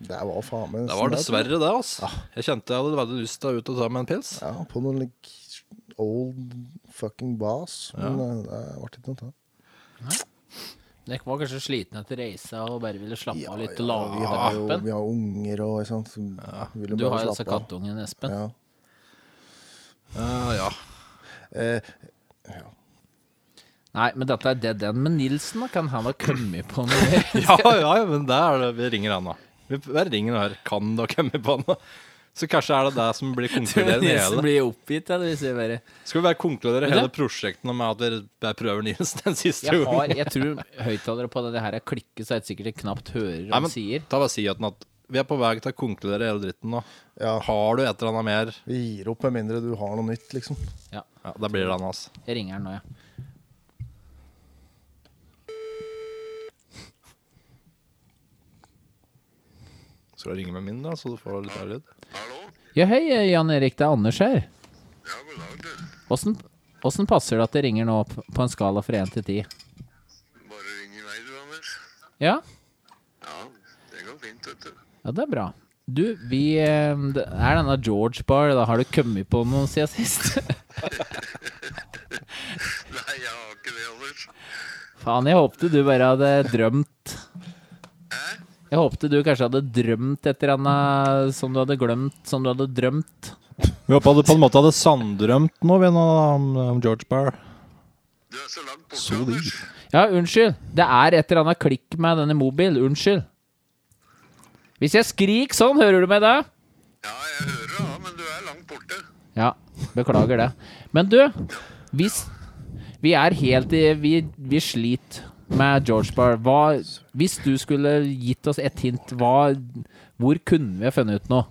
S1: Det var faen meg
S2: Det var
S1: nesten der.
S2: dessverre det, altså.
S1: Ah.
S2: Jeg kjente jeg hadde veldig lyst til å ut og ta meg en pils.
S1: Ja, på noen like, old fucking bas. Men eh, det ble ikke noe av.
S3: Dere var kanskje slitne etter reisa og bare ville slappe av litt og
S1: vi
S3: lage
S1: har jo
S3: ut appen?
S1: vi har unger og ikke
S13: sånn,
S1: sant. Så vi ville
S3: Du
S1: bare
S3: har altså
S1: slappe av.
S3: kattungen Espen.
S1: Ja.
S2: Eh, ja.
S1: Eh,
S3: Nei, men dette er dead end. Men Nilsen, da? Kan han ha kommet på noe mer?
S2: ja, ja, ja, men det er det. Vi ringer han, da. Vi bare ringer han her. Kan dere komme på han? da? Så kanskje er det det som blir konkluderende i
S3: Nilsen
S2: hele
S3: blir oppgitt, eller hvis jeg bare
S2: Skal vi bare konkludere hele
S3: Vet
S2: prosjektet nå med at vi bare prøver Nils den siste
S3: Jeg
S2: gangen?
S3: har, jeg tror høyttalere på denne her er klikke, så jeg sikkert jeg knapt hører
S2: Nei,
S3: hva
S2: men-
S3: han sier.
S2: Ta bare si at at vi er på vei til å konkludere hele dritten nå.
S1: Ja.
S2: Har du et eller annet mer?
S1: vi gir opp med mindre du har noe nytt, liksom.
S2: Ja, Da blir det han, altså.
S3: Jeg ringer han nå, ja.
S2: Skal du ringe med min, da, så du får litt ærlig lyd?
S3: Ja, hei, eh, Jan Erik, det er Anders her.
S11: Ja, god dag, du.
S3: Åssen åssen passer det at det ringer nå p- på en skala fra 1 til 10?
S11: Bare ring i vei, du, Anders.
S3: Ja?
S11: Ja, det går fint, vet du.
S3: Ja, det er bra. Du, vi eh, Det er denne George Bar. Da har du kommet på noe siden sist?
S11: Nei, jeg har ikke det, Anders.
S3: Faen, jeg håpte du bare hadde drømt. Jeg håpte du kanskje hadde drømt et eller annet som du hadde glemt, som du hadde drømt.
S14: Vi håpa du på en måte hadde sanddrømt noe vi nå, om, om George Barr.
S11: Du er så langt borte, Anders.
S3: Ja, unnskyld. Det er et eller annet klikk med denne mobil. Unnskyld. Hvis jeg skrik sånn, hører du meg da?
S11: Ja, jeg hører det, ja, men du er langt borte.
S3: Ja, beklager det. Men du, hvis vi er helt i Vi, vi sliter med George Barr. Hva, hvis du skulle gitt oss et hint, hva, hvor kunne vi ha funnet ut noe?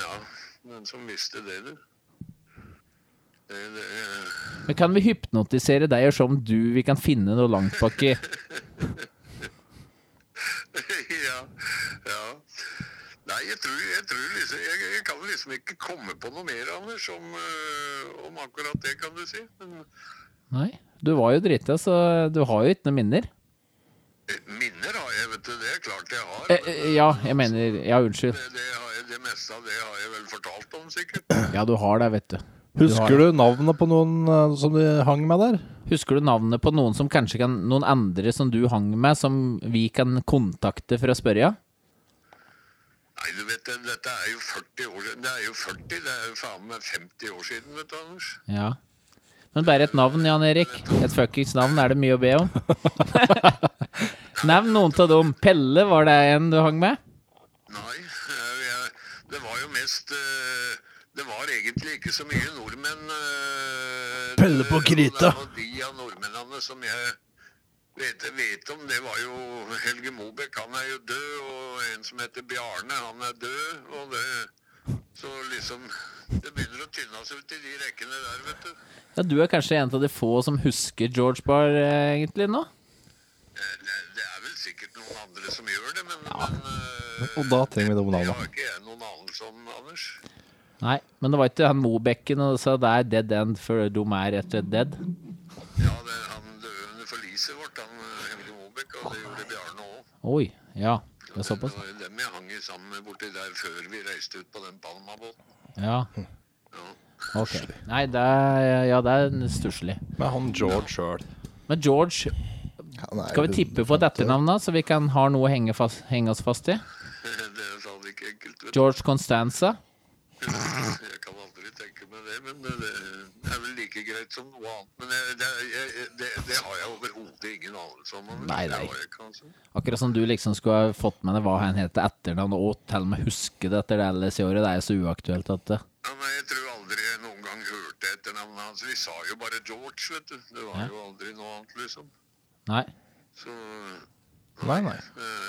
S11: Ja, den som visste det, du. Det, det,
S3: Men kan vi hypnotisere deg og se om du vi kan finne noe langt baki?
S11: ja, ja. Nei, jeg tror, jeg, tror liksom, jeg, jeg kan liksom ikke komme på noe mer, Anders, om, øh, om akkurat det, kan du si. Men
S3: Nei. Du var jo drita, så du har jo ikke noen minner.
S11: eh, minner har jeg, vet du. Det er klart jeg har.
S3: Eh, eh, ja, jeg mener Ja, unnskyld.
S11: Det, det, har jeg, det meste av det har jeg vel fortalt om, sikkert.
S3: Ja, du har det, vet du.
S14: Husker du navnet på noen eh, som du hang med der?
S3: Husker du navnet på noen som kanskje kan Noen andre som du hang med, som vi kan kontakte for å spørre? Ja?
S11: Nei, du vet, det, dette er jo 40 år siden. Det er jo 40, det er jo faen meg 50 år siden, vet du, Anders.
S3: Ja. Men bare et navn, Jan Erik. Et fuckings navn er det mye å be om. Nevn noen av dem. Pelle, var det en du hang med?
S11: Nei, eh, jeg jo mest eh, Det var egentlig ikke så mye nordmenn eh,
S7: Pelle på krita.
S11: Og de av nordmennene som jeg vet, vet om, det var jo Helge Mobek. Han er jo død. Og en som heter Bjarne, han er død. Og det Så liksom Det begynner å tynnes ut i de rekkene der, vet du.
S3: Ja, du er kanskje en av de få som husker George Barr eh, egentlig nå?
S11: eh,
S7: Og da trenger vi det om navnet.
S3: Nei, men det var ikke han Mobekken og sa det er dead end, for de er rett og slett dead.
S11: Forliset vårt, han eh, Helge Mobek, og det gjorde Bjarne òg.
S3: Oi, ja. Det er såpass.
S11: var jo dem jeg hang i sammen med borti der før vi reiste ut på den Palmabåten.
S3: Ja. Ok. Nei, det er, ja, det er stusslig.
S15: Men han George sjøl.
S3: Men George Skal vi tippe på et etternavn, da, så vi kan ha noe å henge, fast, henge oss fast i?
S11: det sa det ikke enkelt. vet du.
S3: George Constanza?
S11: Jeg kan aldri tenke meg det, men det det er vel like greit som noe annet. Men jeg- det, jeg, det, det har jeg overhodet ingen anelse om. men
S3: Nei,
S11: det
S3: nei.
S11: har jeg ikke, altså.
S3: Akkurat som du liksom skulle ha fått med deg hva han heter etternavn, og til og med huske det etter det LS-året. Det er jo så uaktuelt at det
S11: Ja, men jeg tror aldri jeg noen gang hørte etternavnet hans. Vi sa jo bare George, vet du. Det var
S3: Ja.
S11: jo aldri noe annet, liksom.
S3: Nei.
S11: Så
S7: Nei, nei.
S11: eh,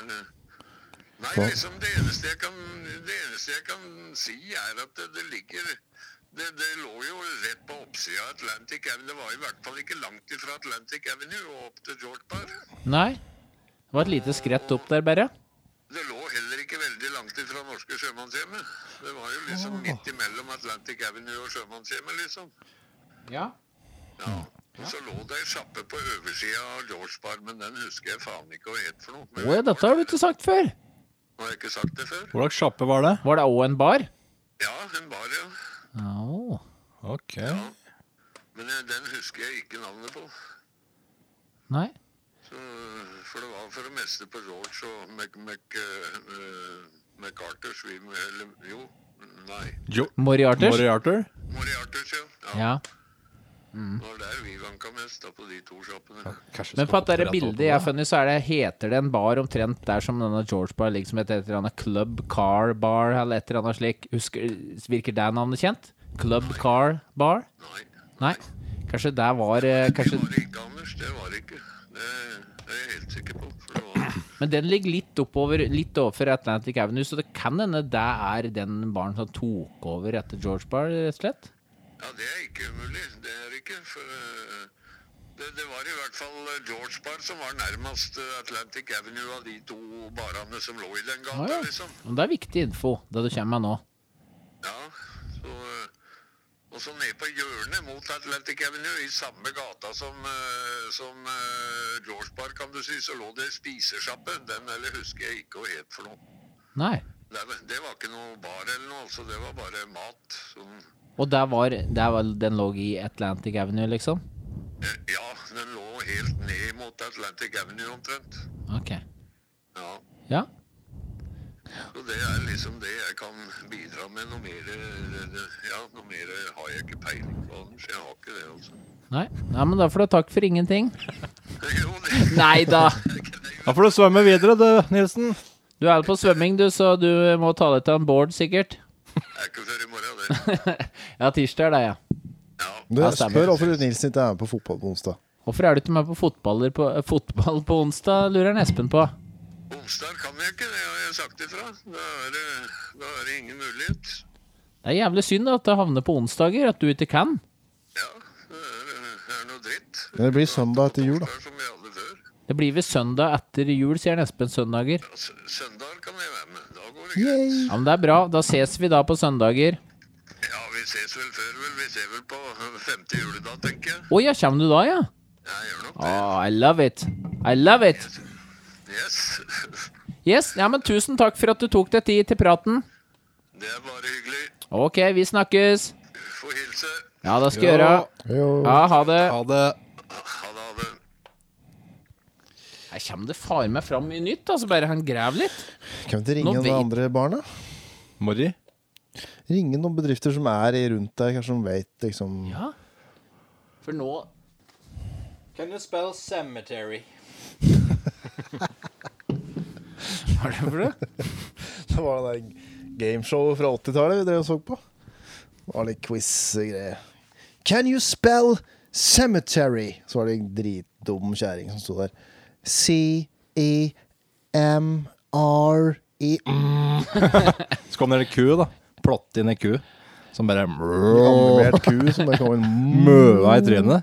S11: Nei,
S7: Så.
S11: liksom det eneste jeg kan, det eneste jeg kan si, er at det, det ligger det, det lå jo rett på oppsida av Atlantic Avenue. Det var i hvert fall ikke langt ifra Atlantic Avenue og opp til George Park.
S3: Nei. Det var et lite skrett opp der, bare.
S11: Det lå heller ikke veldig langt ifra norske sjømannshjemmet. Det var jo
S7: Ah.
S11: liksom midt imellom Atlantic Avenue og sjømannshjemmet, liksom.
S3: Ja.
S11: Og så lå det ei sjappe på oversida av George Park, men den husker jeg faen ikke hva het for noe. Men
S3: Oi, dette har du ikke sagt før.
S11: Har jeg ikke sagt det før?
S7: Hvor slags sjappe var det?
S3: Var det òg en bar?
S11: Ja, en bar, ja.
S3: Au.
S7: Ok.
S11: Men eh, den husker jeg ikke navnet på.
S3: Nei.
S11: Så, eh, for det var for det meste på George og Mac, Mac, eh, eh, MacArthur Swim, eller jo, nei,
S7: Jo.
S3: Moriarters?
S7: Mori Arthur?
S11: Moriarters, ja.
S3: Ja.
S11: Det var der vi vanka mest, da, på de to sjappene.
S3: Men på dette bildet jeg har funnet, så er det, heter det en bar omtrent der som denne George Bar ligger, som heter et eller annet Club Car Bar eller et eller annet slik. Husker, virker det navnet kjent? Club Car Bar? Nei. Kanskje det var eh, kanskje... Men den ligger litt oppover Litt overfor Atlantic Avenue, så det kan hende det er den baren som tok over etter George Bar, rett og slett.
S11: Ja, det er ikke umulig. Det er ikke, for eh, det, det var i hvert fall eh, George Bar som var nærmest eh, Atlantic Avenue av de to barene som lå i den gata,
S3: Ah, ja.
S11: liksom.
S3: Men det er viktig info, det du kommer med nå.
S11: Ja, så, eh, og så ned på hjørnet mot Atlantic Avenue, i samme gata som, eh, som eh, George Bar, kan du si, så lå det spisesjappe. Den eller husker jeg ikke hva het for noe.
S3: Nei.
S11: Det, det var ikke noe bar eller noe, altså. Det var bare mat. Sånn.
S3: Og der var, der var Den lå i Atlantic Avenue, liksom?
S11: Eh, Ja, den lå helt ned mot Atlantic Avenue omtrent.
S3: Ok.
S11: Ja.
S3: Ja.
S11: Så det er liksom det jeg kan bidra med. Noe mer, eh, ja, noe mer har jeg ikke peiling på, Anders. Jeg har ikke det, altså.
S3: Nei. Nei, men da får du takk for ingenting. Nei da.
S7: Da får du svømme videre, du, Nilsen.
S3: Du er på svømming, du, så du må ta deg til en Bård, sikkert. ja, tirsdag er det, ja.
S13: Du,
S3: Ja, stemmer.
S13: spør hvorfor Nilsen ikke er med på fotball på onsdag.
S3: Hvorfor er du ikke med på, fotballer på eh, fotball på onsdag, lurer han Espen på.
S11: Onsdag kan jeg ikke, det har jeg sagt ifra. Da er det, da er det ingen mulighet.
S3: Det er jævlig synd at det havner på onsdager, at du ikke kan.
S13: Men det blir søndag etter jul, da.
S3: Det blir ved søndag etter jul, sier han Espen. Søndager.
S11: Altså,
S3: Ja, men det er bra. Da ses vi da på søndager.
S11: Ja, vi ses vel før, vel. Vi ser vel på eh, femte juledag, tenker jeg.
S3: Å ja, kommer du da, ja? Å, I love it. I love it.
S11: Yes.
S3: Yes, ja, men tusen takk for at du tok deg tid til praten.
S11: Det er bare hyggelig.
S3: Ok, vi snakkes.
S11: Få hilse.
S3: Ja, det skal jeg gjøre. Ja, ha det.
S7: Ha det.
S3: Her kommer det far meg fram mye nytt, altså bare han graver litt.
S13: Kan vi ikke ringe
S3: Nå
S13: noen
S3: vet-
S13: andre barna?
S7: Mori?
S13: Ringe noen bedrifter som er i rundt der, kanskje de vet liksom
S3: Ja. For nå
S2: Kan du spille cemetery?
S3: Hva er det for noe?
S13: Det var den
S1: gameshow fra 80-tallet vi drev og så på. Det var litt quiz-greier. Can you spell cemetery? Så var det en dritdum kjerring som sto der. E C-E-M-R-E
S2: Så kom det en ku, da. Plott inn en ku. Som bare
S1: Animert ku som bare kom inn
S2: Møa i trynet.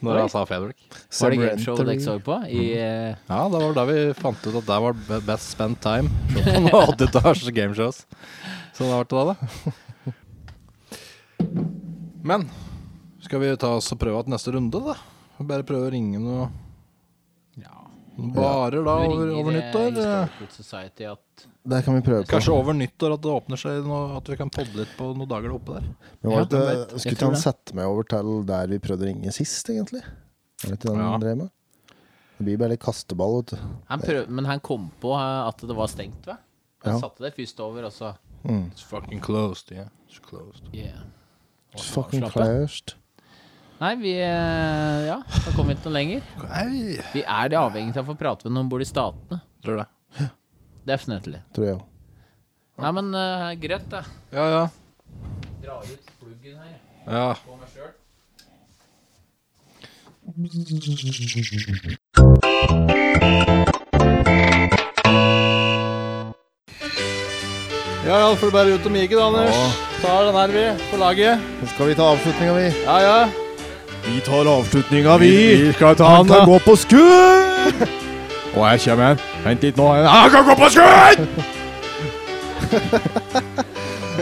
S2: Når jeg sa Fredrik.
S1: Var det gameshow
S3: Showet dere så på i eh,
S2: Ja, det var da vi fant ut at der var be- best spent time. På noen 80-talls gameshows. Så det var til det, da. Men skal vi ta oss og prøve at neste runde, da? Bare prøve å ringe noe Noen Barer, da,
S3: Nå
S2: over,
S3: ringer
S2: over
S3: det
S2: nyttår? eh,
S3: Historical Society at
S1: Der kan vi prøve på.
S2: Kanskje over nyttår at det åpner seg noe, at vi kan podde litt på noen dager der oppe der.
S1: Men var det,
S2: Ja,
S1: ikke- skulle ikke
S3: tror
S1: han
S3: det.
S1: sette meg over til der vi prøvde å ringe sist, egentlig? Var det ikke den
S2: Ja.
S1: han drev med? Det blir bare litt kasteball, vet du.
S3: han prøv, Men han kom på eh, at det var stengt, hva? Han
S1: Ja.
S3: satte det først over, og så
S2: It's fucking closed, yeah. It's closed.
S3: yeah.
S1: It's fucking
S3: slapp av.
S1: closed.
S3: Nei, vi eh, Ja, da kom vi ikke noe lenger.
S2: Nei,
S3: Vi er avhengig av å få prate med noen som bor i Statene.
S2: tror det.
S3: Definitely.
S1: Tror jeg.
S3: Nei, men eh, greit, da.
S2: Ja, ja.
S3: Dra ut pluggen her
S2: ja.
S3: på meg sjøl.
S2: Ja, ja, får du bare ut og mige, da, Anders. Ta den her, vi, på laget.
S1: Nå skal vi ta avslutninga, vi.
S2: Ja, ja.
S1: Vi tar avslutninga,
S2: vi skal ta
S1: Han eh, kan gå på skudd!
S2: Og jeg kommer. Vent litt nå. Jeg kan gå på skudd!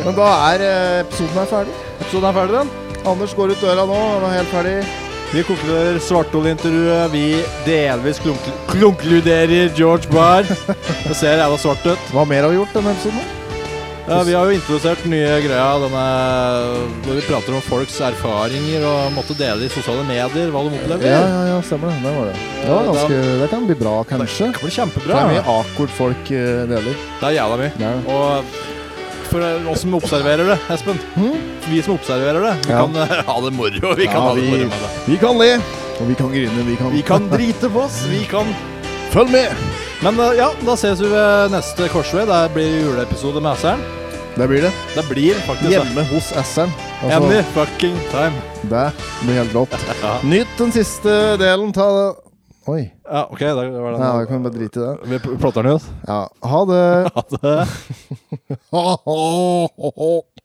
S1: Men da er eh, episoden her ferdig.
S2: Episoden er ferdig, den.
S1: Anders går ut døra nå, han er helt ferdig.
S2: Vi konkluderer svarthulintervjuet. Vi delvis klunkl klunkluderer George Barr. Det ser jævla svart ut.
S1: Hva mer har vi gjort denne episoden?
S2: Ja, vi har jo introdusert den nye greia, denne hvor vi prater om folks erfaringer og måtte dele i sosiale medier hva de opplever.
S1: Ja, ja, ja, stemmer det. Det var det. Det, var
S2: Ja,
S1: ganske, det kan bli bra, kanskje.
S2: Det blir
S1: Det
S2: kjempebra.
S1: er mye awkward folk eh, deler.
S2: Det er jævla mye.
S1: Det er det.
S2: Og for oss som observerer det, Espen. Vi som observerer det, vi
S1: Hmm? Ja.
S2: kan eh, ha det moro. Vi kan
S1: Ja,
S2: ha det
S1: vi-
S2: moro med det.
S1: Vi kan le, og vi kan grine. Vi kan,
S2: Vi kan drite på oss. Vi kan
S1: Følg med!
S2: Men eh, ja, da ses vi ved neste korsvei. Det blir juleepisode med Asseren.
S1: Det blir det.
S2: Det blir faktisk det.
S1: Hjemme hos S-en. Altså,
S2: Any fucking time.
S1: det blir helt rått. Nyt den siste delen. Ta det. Oi.
S2: Ja, OK, da var den.
S1: Ja, vi kan bare drite i det.
S2: Vi pl- plotter den ut.
S1: Ja. Ha det.
S2: Ha det.